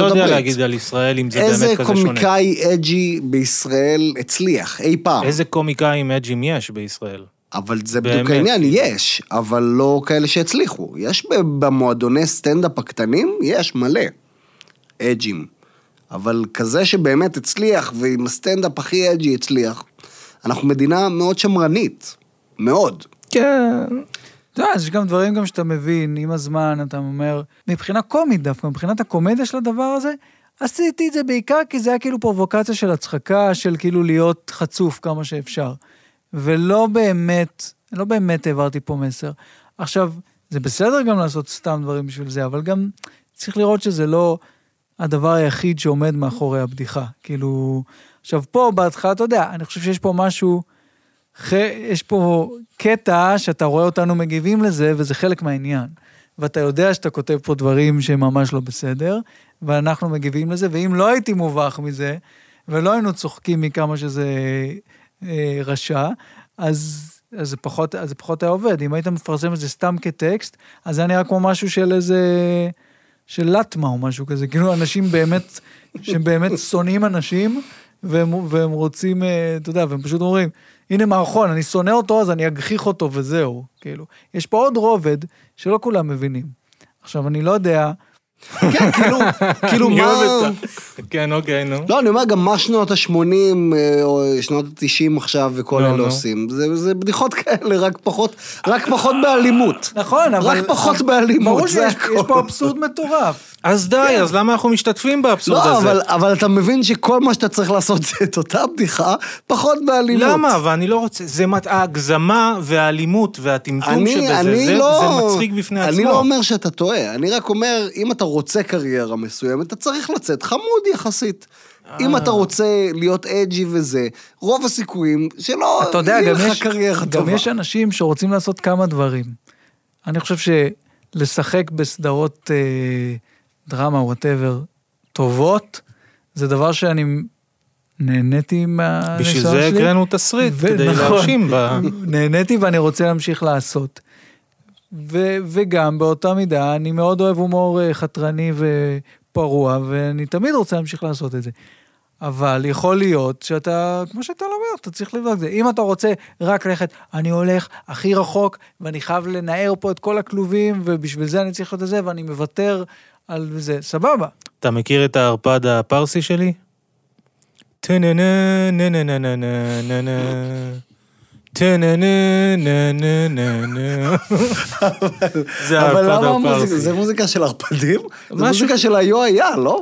Speaker 2: אני לא יודע
Speaker 3: הברית.
Speaker 2: להגיד על ישראל אם זה
Speaker 3: איזה
Speaker 2: באמת כזה שונה.
Speaker 3: קומיקאי אג'י בישראל הצליח אי פעם?
Speaker 2: איזה קומיקאים אג'ים יש בישראל?
Speaker 3: אבל זה
Speaker 2: באמת,
Speaker 3: בדיוק העניין,
Speaker 2: כאילו.
Speaker 3: יש, אבל לא כאלה שהצליחו. יש ב- במועדוני סטנדאפ הקטנים, יש מלא אג'ים. אבל כזה שבאמת הצליח, ועם הסטנדאפ הכי אג'י הצליח, אנחנו מדינה מאוד שמרנית. מאוד.
Speaker 2: כן.
Speaker 1: אתה יודע, יש גם דברים גם שאתה מבין, עם הזמן אתה אומר, מבחינה קומית דווקא, מבחינת הקומדיה של הדבר הזה, עשיתי את זה בעיקר כי זה היה כאילו פרובוקציה של הצחקה, של כאילו להיות חצוף כמה שאפשר. ולא באמת, לא באמת העברתי פה מסר. עכשיו, זה בסדר גם לעשות סתם דברים בשביל זה, אבל גם צריך לראות שזה לא הדבר היחיד שעומד מאחורי הבדיחה. כאילו, עכשיו פה בהתחלה, אתה יודע, אני חושב שיש פה משהו... ח- יש פה קטע שאתה רואה אותנו מגיבים לזה, וזה חלק מהעניין. ואתה יודע שאתה כותב פה דברים שהם ממש לא בסדר, ואנחנו מגיבים לזה, ואם לא הייתי מובך מזה, ולא היינו צוחקים מכמה שזה אה, רשע, אז, אז, זה פחות, אז זה פחות היה עובד. אם היית מפרסם את זה סתם כטקסט, אז זה היה נראה כמו משהו של איזה... של לטמה או משהו כזה, כאילו אנשים באמת, שהם באמת שונאים אנשים, והם, והם רוצים, אה, אתה יודע, והם פשוט אומרים, הנה מערכון, אני שונא אותו, אז אני אגחיך אותו וזהו, כאילו. יש פה עוד רובד שלא כולם מבינים. עכשיו, אני לא יודע
Speaker 3: כן, כאילו, כאילו
Speaker 2: אני
Speaker 3: מה...
Speaker 2: אוהב את ה- כן, אוקיי, נו.
Speaker 3: לא, אני אומר גם מה שנות ה-80 או שנות ה-90 עכשיו וכל
Speaker 2: לא,
Speaker 3: אלה
Speaker 2: לא.
Speaker 3: עושים. זה, זה בדיחות כאלה, רק פחות, רק פחות באלימות.
Speaker 1: נכון, אבל...
Speaker 3: רק פחות באלימות,
Speaker 1: ברור
Speaker 3: זה
Speaker 1: שיש
Speaker 3: הכל.
Speaker 1: יש פה אבסורד מטורף.
Speaker 2: אז די, אז למה אנחנו משתתפים באבסורד
Speaker 3: כן. לא,
Speaker 2: הזה?
Speaker 3: אבל, אבל אתה מבין שכל מה שאתה צריך לעשות זה את אותה בדיחה, פחות באלימות.
Speaker 2: למה? ואני לא רוצה... זה מת- ההגזמה והאלימות והטמטום
Speaker 3: אני,
Speaker 2: שבזה,
Speaker 3: אני
Speaker 2: זה-
Speaker 3: לא...
Speaker 2: זה מצחיק בפני
Speaker 3: אני
Speaker 2: עצמו.
Speaker 3: לא אומר שאתה טועה, אני רק אומר, אם אתה רוצה קריירה מסוימת, אתה צריך לצאת חמוד יחסית. אם
Speaker 2: אה.
Speaker 3: אתה רוצה להיות אג'י וזה, רוב הסיכויים שלא
Speaker 1: אתה יודע,
Speaker 3: יהיה
Speaker 1: גם
Speaker 3: נכון, לך
Speaker 1: יש,
Speaker 3: קריירה
Speaker 1: גם
Speaker 3: טובה.
Speaker 1: יש אנשים שרוצים לעשות כמה דברים. אני חושב שלשחק בסדרות אה, דרמה, וואטאבר, טובות, זה דבר שאני נהניתי מה...
Speaker 2: בשביל
Speaker 1: הניסיון
Speaker 2: זה
Speaker 1: שלי.
Speaker 2: הקראנו תסריט,
Speaker 1: ו-
Speaker 2: כדי
Speaker 1: נכון.
Speaker 2: להרשים ב...
Speaker 1: נהניתי ואני רוצה להמשיך לעשות. ו- וגם באותה מידה, אני מאוד אוהב הומור אה, חתרני ופרוע, ואני תמיד רוצה להמשיך לעשות את זה. אבל יכול להיות שאתה, כמו שאתה לא אומר, אתה צריך לבדוק את זה. אם אתה רוצה רק ללכת, אני הולך הכי רחוק, ואני חייב לנער פה את כל הכלובים, ובשביל זה אני צריך להיות את זה, ואני מוותר על זה, סבבה.
Speaker 2: אתה מכיר את הערפד הפרסי שלי? טה-נה-נה, נה-נה-נה-נה, נה-נה. טה-נה-נה, נה-נה-נה-נה. זה
Speaker 3: אבל
Speaker 2: הערפד
Speaker 3: למה המוזיקה?
Speaker 2: הפרסי.
Speaker 3: זה מוזיקה של ערפדים? זה
Speaker 2: משהו-
Speaker 3: מוזיקה של היו היה, לא?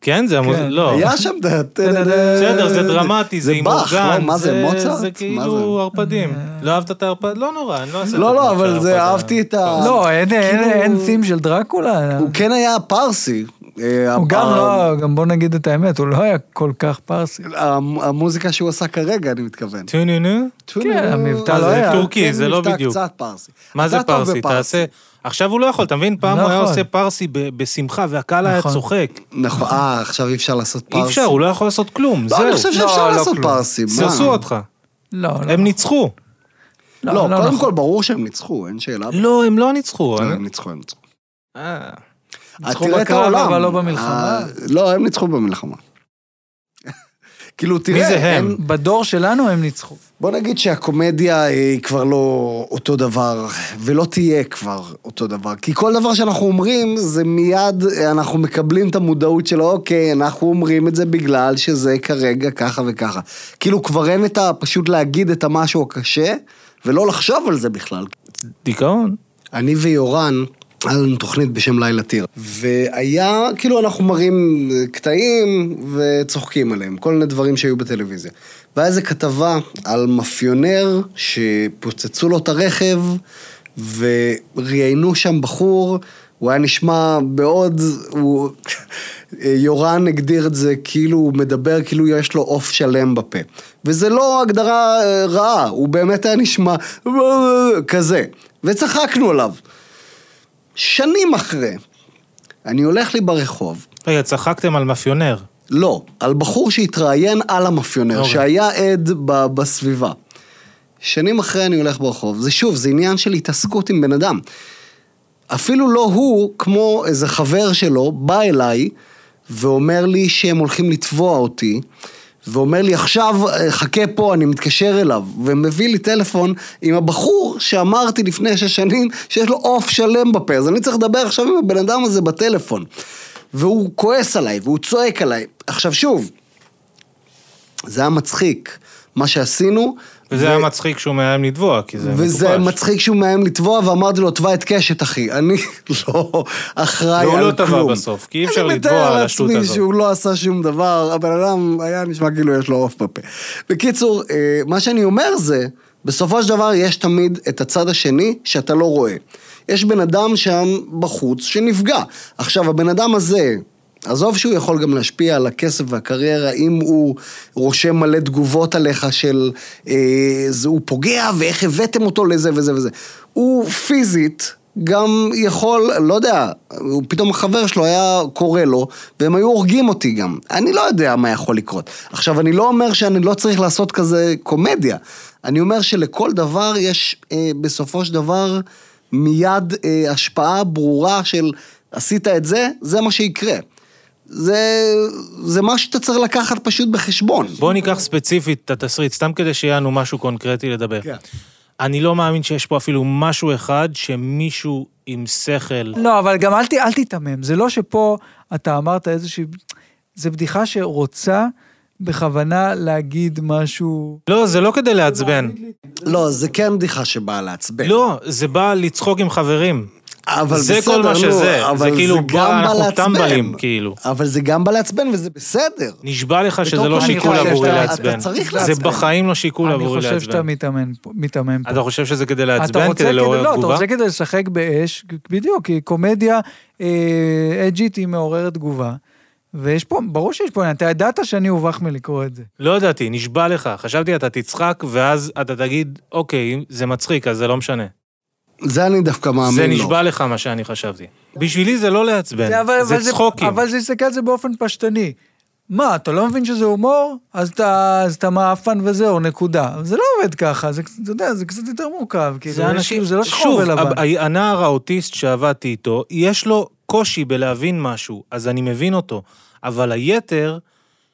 Speaker 2: כן, זה המוזיקה, לא.
Speaker 3: היה שם... ד-
Speaker 2: בסדר, זה דרמטי, זה
Speaker 3: זה
Speaker 2: עם
Speaker 3: באך,
Speaker 2: אורגן.
Speaker 3: לא? מה זה, מוצרט?
Speaker 2: זה
Speaker 3: מה זה?
Speaker 2: כאילו ערפדים. לא אהבת את הערפד? לא נורא, אני לא אעשה את
Speaker 3: לא, לא,
Speaker 2: הדמות של
Speaker 3: אבל זה,
Speaker 2: הערפד.
Speaker 3: אהבתי את ה...
Speaker 1: אה, לא, אין- אין אין סים של דרקולה.
Speaker 3: הוא כן היה פרסי. אה,
Speaker 1: הוא גם
Speaker 3: ה-
Speaker 1: לא, גם בוא נגיד את האמת, הוא לא היה כל כך פרסי.
Speaker 3: המ- המוזיקה שהוא עשה כרגע, אני מתכוון.
Speaker 2: טה-נה-נה.
Speaker 1: כן, המבטא
Speaker 3: אז
Speaker 1: לא היה.
Speaker 2: טורקי, זה לא
Speaker 3: מבטא
Speaker 2: בדיוק.
Speaker 3: קצת פרסי.
Speaker 2: מה זה
Speaker 3: אתה טוב
Speaker 2: פרסי?
Speaker 3: בפרסי.
Speaker 2: תעשה... עכשיו הוא לא יכול, אתה מבין? פעם הוא היה
Speaker 1: נכון.
Speaker 2: עושה פרסי ב- בשמחה, והקהל היה
Speaker 1: נכון.
Speaker 2: צוחק.
Speaker 3: נכון, אה, עכשיו אי אפשר לעשות פרסי.
Speaker 2: אי אפשר, הוא לא יכול לעשות כלום,
Speaker 3: לא, אני חושב
Speaker 2: זהו.
Speaker 3: שאפשר
Speaker 1: לא, לא
Speaker 3: לעשות
Speaker 1: כלום.
Speaker 3: פרסי. מה?
Speaker 2: סירסו אותך.
Speaker 1: לא, לא.
Speaker 2: הם ניצחו.
Speaker 3: לא, קודם
Speaker 1: נכון. אה?
Speaker 3: כל, ברור שהם ניצחו, אין שאלה.
Speaker 2: לא, הם לא ניצחו.
Speaker 3: לא,
Speaker 2: אני-
Speaker 3: הם ניצחו, הם ניצחו.
Speaker 2: אה.
Speaker 1: ניצחו
Speaker 3: תראה את
Speaker 1: בקרב,
Speaker 3: העולם.
Speaker 1: אבל לא במלחמה.
Speaker 3: אה, לא, הם ניצחו במלחמה. כאילו, תראה,
Speaker 2: זה הם?
Speaker 3: אין-
Speaker 1: בדור שלנו הם ניצחו.
Speaker 3: בוא נגיד שהקומדיה אה, היא כבר לא אותו דבר, ולא תהיה כבר אותו דבר. כי כל דבר שאנחנו אומרים, זה מיד, אה, אנחנו מקבלים את המודעות שלו, אוקיי, אנחנו אומרים את זה בגלל שזה כרגע ככה וככה. כאילו כבר אין את ה... פשוט להגיד את המשהו הקשה, ולא לחשוב על זה בכלל.
Speaker 2: דיכאון.
Speaker 3: אני ויורן, היה לנו תוכנית בשם לילה טיר, והיה, כאילו אנחנו מראים אה, קטעים וצוחקים עליהם, כל מיני דברים שהיו בטלוויזיה. והיה איזה כתבה על מאפיונר שפוצצו לו את הרכב, וראיינו שם בחור, הוא היה נשמע מאוד, הוא... יורן הגדיר את זה כאילו הוא מדבר, כאילו יש לו עוף שלם בפה. וזה לא הגדרה אה, רעה, הוא באמת היה נשמע כזה. וצחקנו עליו. שנים אחרי, אני הולך לי ברחוב,
Speaker 2: רגע, צחקתם על מאפיונר.
Speaker 3: לא, על בחור שהתראיין על המאפיונר,
Speaker 2: אוקיי.
Speaker 3: שהיה עד ב- בסביבה. שנים אחרי אני הולך ברחוב, זה שוב, זה עניין של התעסקות עם בן אדם. אפילו לא הוא, כמו איזה חבר שלו, בא אליי ואומר לי שהם הולכים לתבוע אותי, ואומר לי, עכשיו, אה, חכה פה, אני מתקשר אליו, ומביא לי טלפון עם הבחור שאמרתי לפני שש שנים שיש לו עוף שלם בפה, אז אני צריך לדבר עכשיו עם הבן אדם הזה בטלפון. והוא כועס עליי, והוא צועק עליי. עכשיו שוב, זה היה מצחיק, מה שעשינו.
Speaker 2: וזה היה מצחיק שהוא מאיים לתבוע, כי זה מטופש.
Speaker 3: וזה מצחיק שהוא מאיים לתבוע, ואמרתי לו, תבע את קשת, אחי. אני לא אחראי על
Speaker 2: והוא
Speaker 3: כלום.
Speaker 2: לא תבע בסוף, כי אי אפשר לתבוע על השטות
Speaker 3: אני מתאר
Speaker 2: הזאת.
Speaker 3: לעצמי שהוא לא עשה שום דבר, הבן אדם היה נשמע כאילו יש לו עוף בפה. בקיצור, אה, מה שאני אומר זה, בסופו של דבר יש תמיד את הצד השני שאתה לא רואה. יש בן אדם שם בחוץ שנפגע. עכשיו, הבן אדם הזה... עזוב שהוא יכול גם להשפיע על הכסף והקריירה, אם הוא רושם מלא תגובות עליך של אה, זה הוא פוגע ואיך הבאתם אותו לזה וזה וזה. הוא פיזית גם יכול, לא יודע, הוא פתאום החבר שלו היה קורא לו, והם היו הורגים אותי גם. אני לא יודע מה יכול לקרות. עכשיו, אני לא אומר שאני לא צריך לעשות כזה קומדיה. אני אומר שלכל דבר יש אה, בסופו של דבר מיד אה, השפעה ברורה של עשית את זה, זה מה שיקרה. זה, זה מה שאתה צריך לקחת פשוט בחשבון.
Speaker 2: בוא ניקח ספציפית את התסריט, סתם כדי שיהיה לנו משהו קונקרטי לדבר.
Speaker 3: כן.
Speaker 2: אני לא מאמין שיש פה אפילו משהו אחד שמישהו עם שכל.
Speaker 1: לא, אבל גם אל, ת- אל תיתמם. זה לא שפה אתה אמרת איזושהי... זה בדיחה שרוצה בכוונה להגיד משהו...
Speaker 2: לא, זה לא כדי לעצבן.
Speaker 3: לא, זה כן בדיחה שבאה לעצבן.
Speaker 2: לא, זה בא לצחוק עם חברים.
Speaker 3: אבל
Speaker 2: זה
Speaker 3: בסדר,
Speaker 2: כל מה
Speaker 3: נו,
Speaker 2: שזה. זה
Speaker 3: אבל
Speaker 2: כאילו
Speaker 3: גם
Speaker 2: בא, אנחנו
Speaker 3: לעצבן.
Speaker 2: טמבלים, כאילו.
Speaker 3: אבל זה גם בא לעצבן וזה בסדר.
Speaker 2: נשבע לך שזה
Speaker 3: בתור
Speaker 2: לא
Speaker 3: אני
Speaker 2: שיקול
Speaker 1: חושב
Speaker 2: עבורי
Speaker 1: שאתה-
Speaker 2: לעצבן.
Speaker 3: אתה צריך
Speaker 2: זה
Speaker 3: לעצבן.
Speaker 2: בחיים לא שיקול
Speaker 1: אני
Speaker 2: עבורי
Speaker 1: חושב שאתה
Speaker 2: לעצבן.
Speaker 1: מתאמן פה. מתאמם פה.
Speaker 2: אתה חושב שזה כדי
Speaker 1: אתה
Speaker 2: לעצבן,
Speaker 1: רוצה
Speaker 2: כדי לעורר
Speaker 1: לא, אתה
Speaker 2: תגובה?
Speaker 1: רוצה כדי לשחק באש, בדיוק, כי קומדיה אה, אג'ית היא מעוררת תגובה. ויש פה, ברור שיש פה, אתה ידעת שאני הובך מלקרוא את זה.
Speaker 2: לא ידעתי, נשבע לך. חשבתי אתה תצחק, ואז אתה תגיד, אוקיי, אם זה מצחיק, אז זה לא משנה.
Speaker 3: זה אני דווקא מאמין לו.
Speaker 2: זה נשבע לך מה שאני חשבתי. בשבילי זה לא לעצבן,
Speaker 1: זה, אבל, אבל
Speaker 2: זה צחוקים.
Speaker 1: אבל זה הסתכל על זה באופן פשטני. מה, אתה לא מבין שזה הומור? אז אתה, אז אתה מעפן וזהו, נקודה. אבל זה לא עובד ככה, זה, קצת- אתה יודע, זה קצת יותר מורכב. כאילו, יש- זה לא שחור
Speaker 2: שוב,
Speaker 1: ולבן.
Speaker 2: הב- ה- הנער האוטיסט שעבדתי איתו, יש לו קושי בלהבין משהו, אז אני מבין אותו. אבל היתר,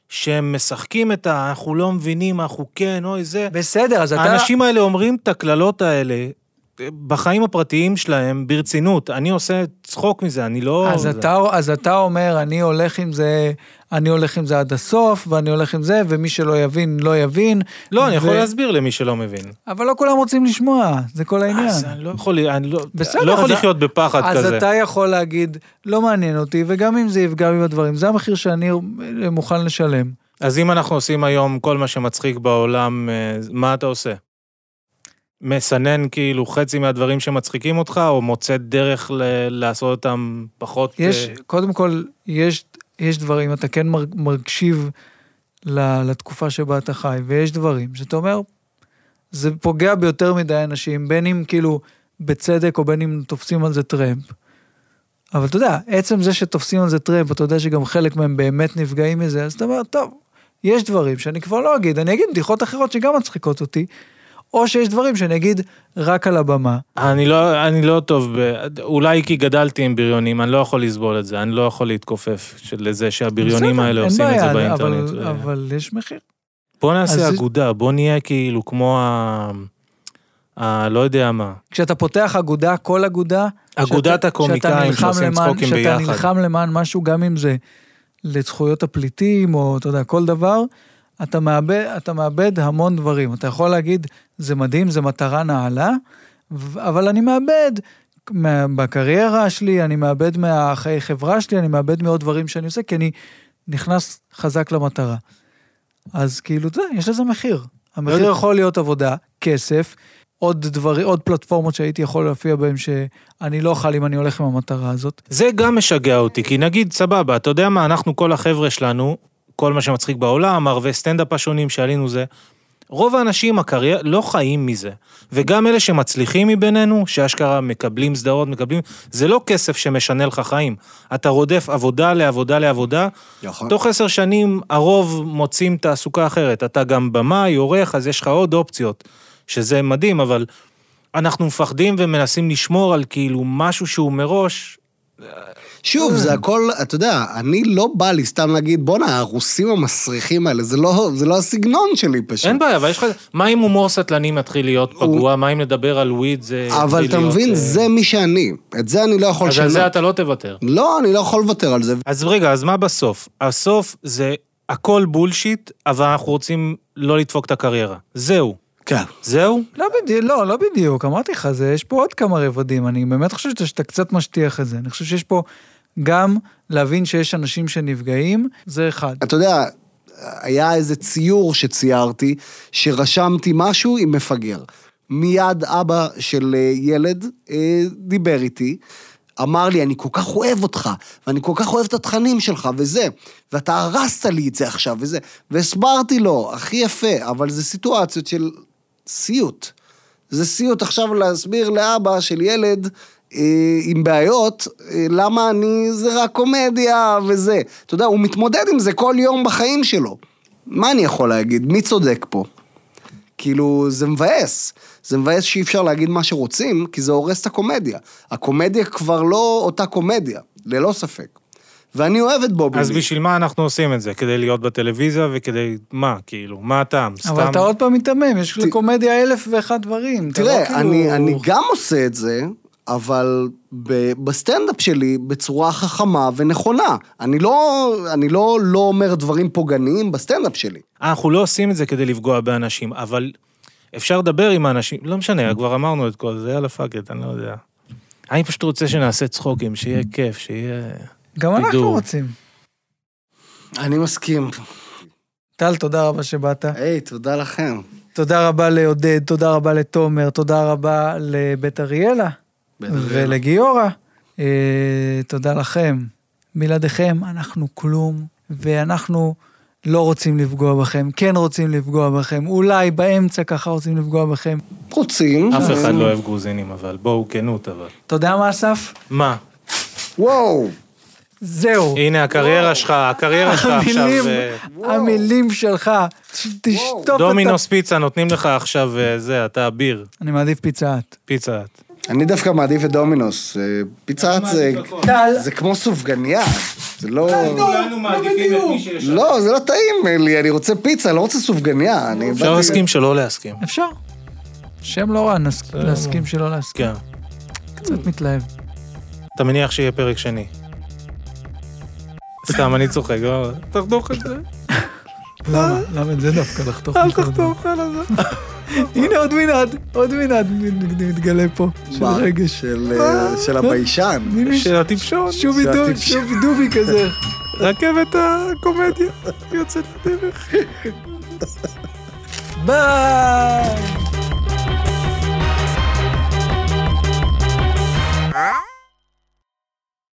Speaker 2: שהם משחקים את ה... אנחנו לא מבינים, אנחנו כן, אוי זה...
Speaker 1: בסדר, אז אתה...
Speaker 2: האנשים האלה אומרים את הקללות האלה אה, בחיים הפרטיים שלהם ברצינות. אני עושה צחוק מזה, אני לא...
Speaker 1: אז
Speaker 2: זה.
Speaker 1: אתה, אז אתה אומר, אני הולך עם זה, אני הולך עם זה עד הסוף, ואני הולך עם זה, ומי שלא יבין, לא יבין.
Speaker 2: לא, אני יכול
Speaker 1: ו-
Speaker 2: להסביר למי שלא מבין.
Speaker 1: אבל לא כולם רוצים לשמוע, זה כל העניין.
Speaker 2: אז אני לא יכול, אני לא,
Speaker 1: בסדר,
Speaker 2: לא יכול
Speaker 1: אז-
Speaker 2: לחיות בפחד
Speaker 1: אז
Speaker 2: כזה.
Speaker 1: אתה יכול להגיד, לא מעניין אותי, וגם אם זה יפגע בי בדברים, זה המחיר שאני מוכן לשלם.
Speaker 2: אז אם אנחנו עושים היום כל מה שמצחיק בעולם, אה, מה אתה עושה? מסנן כאילו חצי מהדברים שמצחיקים אותך, או מוצא דרך ל- לעשות אותם פחות...
Speaker 1: יש,
Speaker 2: אה,
Speaker 1: קודם כל, יש, יש דברים, אתה כן מר- מקשיב ל- לתקופה שבה אתה חי, ויש דברים שאתה אומר, זה פוגע ביותר מדי אנשים, בין אם כאילו בצדק או בין אם תופסים על זה טרמפ. אבל אתה יודע, עצם זה שתופסים על זה טרמפ, אתה יודע שגם חלק מהם באמת נפגעים מזה, אז אתה אומר, טוב, יש דברים שאני כבר לא אגיד, אני אגיד בדיחות אחרות שגם מצחיקות אותי, או שיש דברים שאני אגיד רק על הבמה.
Speaker 2: אני לא, אני לא טוב, ב... אולי כי גדלתי עם בריונים, אני לא יכול לסבול את זה, אני לא יכול להתכופף של- לזה שהבריונים
Speaker 1: בסדר,
Speaker 2: האלה
Speaker 1: אין
Speaker 2: עושים את
Speaker 1: בעיה,
Speaker 2: זה באינטרנט.
Speaker 1: אבל,
Speaker 2: אה,
Speaker 1: אבל יש מחיר.
Speaker 2: בוא נעשה
Speaker 1: אז-
Speaker 2: אגודה, בוא נהיה כאילו כמו ה... ה... לא יודע מה.
Speaker 1: כשאתה פותח אגודה, כל אגודה,
Speaker 2: אגודת
Speaker 1: שאתה- שאתה
Speaker 2: הקומיקאים
Speaker 1: נלחם
Speaker 2: שעושים
Speaker 1: למען-
Speaker 2: צחוקים
Speaker 1: שאתה
Speaker 2: ביחד.
Speaker 1: נלחם למען משהו, גם אם זה לזכויות הפליטים, או אתה יודע, כל דבר, אתה מאבד, אתה מאבד המון דברים. אתה יכול להגיד, זה מדהים, זה מטרה נעלה, ו- אבל אני מאבד מה- בקריירה שלי, אני מאבד מהחיי חברה שלי, אני מאבד מעוד דברים שאני עושה, כי אני נכנס חזק למטרה. אז כאילו, אתה יודע, יש לזה מחיר. המחיר יכול להיות עבודה, כסף, עוד דברים, עוד פלטפורמות שהייתי יכול להופיע בהן שאני לא אוכל אם אני הולך עם המטרה הזאת.
Speaker 2: זה גם משגע אותי, כי נגיד, סבבה, אתה יודע מה, אנחנו כל החבר'ה שלנו, כל מה שמצחיק בעולם, ערבי סטנדאפ השונים שעלינו זה, רוב האנשים, הקריירה, לא חיים מזה. וגם אלה שמצליחים מבינינו, שאשכרה מקבלים סדרות, מקבלים, זה לא כסף שמשנה לך חיים. אתה רודף עבודה לעבודה לעבודה,
Speaker 3: נכון.
Speaker 2: תוך עשר שנים הרוב מוצאים תעסוקה אחרת. אתה גם במאי, עורך, אז יש לך עוד אופציות, שזה מדהים, אבל אנחנו מפחדים ומנסים לשמור על כאילו משהו שהוא מראש
Speaker 3: שוב, זה הכל, אתה יודע, אני לא בא לי סתם להגיד, בואנה, הרוסים המסריחים האלה, זה לא, זה לא הסגנון שלי פשוט.
Speaker 2: אין בעיה, אבל יש לך... מה אם הומור סטלני מתחיל להיות פגוע? מה אם לדבר על וויד זה...
Speaker 3: אבל
Speaker 2: מתחיל
Speaker 3: אתה
Speaker 2: להיות,
Speaker 3: מבין,
Speaker 2: אה,
Speaker 3: זה מי שאני. את זה אני לא יכול
Speaker 2: אז על זה
Speaker 3: לשנות.
Speaker 2: אתה לא תוותר.
Speaker 3: לא, אני לא יכול לוותר על זה.
Speaker 2: אז רגע, אז מה בסוף? הסוף זה הכל בולשיט, אבל אנחנו רוצים לא לדפוק את הקריירה. זהו.
Speaker 3: כן.
Speaker 2: זהו?
Speaker 1: לא בדיוק, לא, לא בדיוק, אמרתי לך, זה, יש פה עוד כמה רבדים, אני באמת חושב שאתה- שאתה קצת משטיח את זה. אני חושב שיש פה גם להבין שיש אנשים שנפגעים, זה אחד.
Speaker 3: אתה יודע, היה איזה ציור שציירתי, שרשמתי משהו עם מפגר. מיד אבא של אה, ילד אה, דיבר איתי, אמר לי, אני כל כך אוהב אותך, ואני כל כך אוהב את התכנים שלך, וזה, ואתה הרסת לי את זה עכשיו, וזה. והסברתי לו, הכי יפה, אבל זה סיטואציות של סיוט. זה סיוט עכשיו להסביר לאבא של ילד אה, עם בעיות, אה, למה אני, זה רק קומדיה וזה. אתה יודע, הוא מתמודד עם זה כל יום בחיים שלו. מה אני יכול להגיד? מי צודק פה? כאילו, זה מבאס. זה מבאס שאי אפשר להגיד מה שרוצים, כי זה הורס את הקומדיה. הקומדיה כבר לא אותה קומדיה, ללא ספק. ואני אוהב את בובי.
Speaker 2: אז
Speaker 3: לי.
Speaker 2: בשביל מה אנחנו עושים את זה? כדי להיות בטלוויזיה וכדי... מה, כאילו? מה הטעם? סתם?
Speaker 1: אבל אתה עוד פעם מיתמם, יש לקומדיה אלף ואחד דברים. אתה לא
Speaker 3: תראה,
Speaker 1: כאילו-
Speaker 3: אני, אני גם עושה את זה, אבל ב- בסטנדאפ שלי בצורה חכמה ונכונה. אני לא, אני לא, לא אומר דברים פוגעניים בסטנדאפ שלי.
Speaker 2: אנחנו לא עושים את זה כדי לפגוע באנשים, אבל אפשר לדבר עם האנשים, לא משנה, כבר אמרנו את כל זה, יאללה פאק את, אני לא יודע. אני פשוט רוצה שנעשה צחוקים, שיהיה כיף, שיהיה...
Speaker 1: גם אנחנו
Speaker 2: בידור.
Speaker 1: רוצים.
Speaker 3: אני מסכים.
Speaker 1: טל, תודה רבה שבאת.
Speaker 3: היי, תודה לכם.
Speaker 1: תודה רבה לעודד, תודה רבה לתומר, תודה רבה לבית אריאלה ולגיורא. אה, תודה לכם. בלעדיכם אנחנו כלום, ואנחנו לא רוצים לפגוע בכם, כן רוצים לפגוע בכם, אולי באמצע ככה רוצים לפגוע בכם.
Speaker 3: רוצים.
Speaker 2: אף אחד לא אוהב גרוזינים, אבל בואו, כנות, אבל.
Speaker 1: אתה יודע מה, אסף?
Speaker 2: מה?
Speaker 3: וואו.
Speaker 1: זהו.
Speaker 2: הנה, הקריירה שלך, הקריירה שלך אה, עכשיו...
Speaker 1: המילים,
Speaker 2: אה,
Speaker 1: המילים שלך, ת- תשטוף את ה...
Speaker 2: דומינוס פיצה נותנים לך עכשיו אה, זה, אתה ביר,
Speaker 1: אני מעדיף פיצה-האט.
Speaker 2: פיצה. את.
Speaker 3: אני דווקא מעדיף את דומינוס. אה, פיצה זה,
Speaker 1: טל,
Speaker 3: זה כמו סופגניה. זה לא...
Speaker 2: כולנו מעדיפים את מי שיש.
Speaker 3: לא, זה לא טעים לי, אני רוצה פיצה, אני לא רוצה סופגניה. אני
Speaker 2: אפשר
Speaker 3: באתי-
Speaker 2: להסכים שלא להסכים.
Speaker 1: אפשר. שם לא רע, נס- להסכים שלא להסכים.
Speaker 2: כן.
Speaker 1: קצת מתלהב.
Speaker 2: אתה מניח שיהיה פרק שני. סתם, אני צוחק, לא? תחתוך את זה.
Speaker 1: למה? אה? למה את זה דווקא לחתוך? אל תחתוך על זה. הנה עוד מנעד, עוד מנעד מת- מתגלה פה, של
Speaker 3: מה?
Speaker 1: רגש.
Speaker 3: של, אה, של הביישן.
Speaker 1: הנה,
Speaker 2: של הטיפשון,
Speaker 1: שובי דובי,
Speaker 3: שהטיפש-
Speaker 1: שובי דובי כזה.
Speaker 2: רכבת הקומדיה, יוצאת לדרך.
Speaker 1: ביי!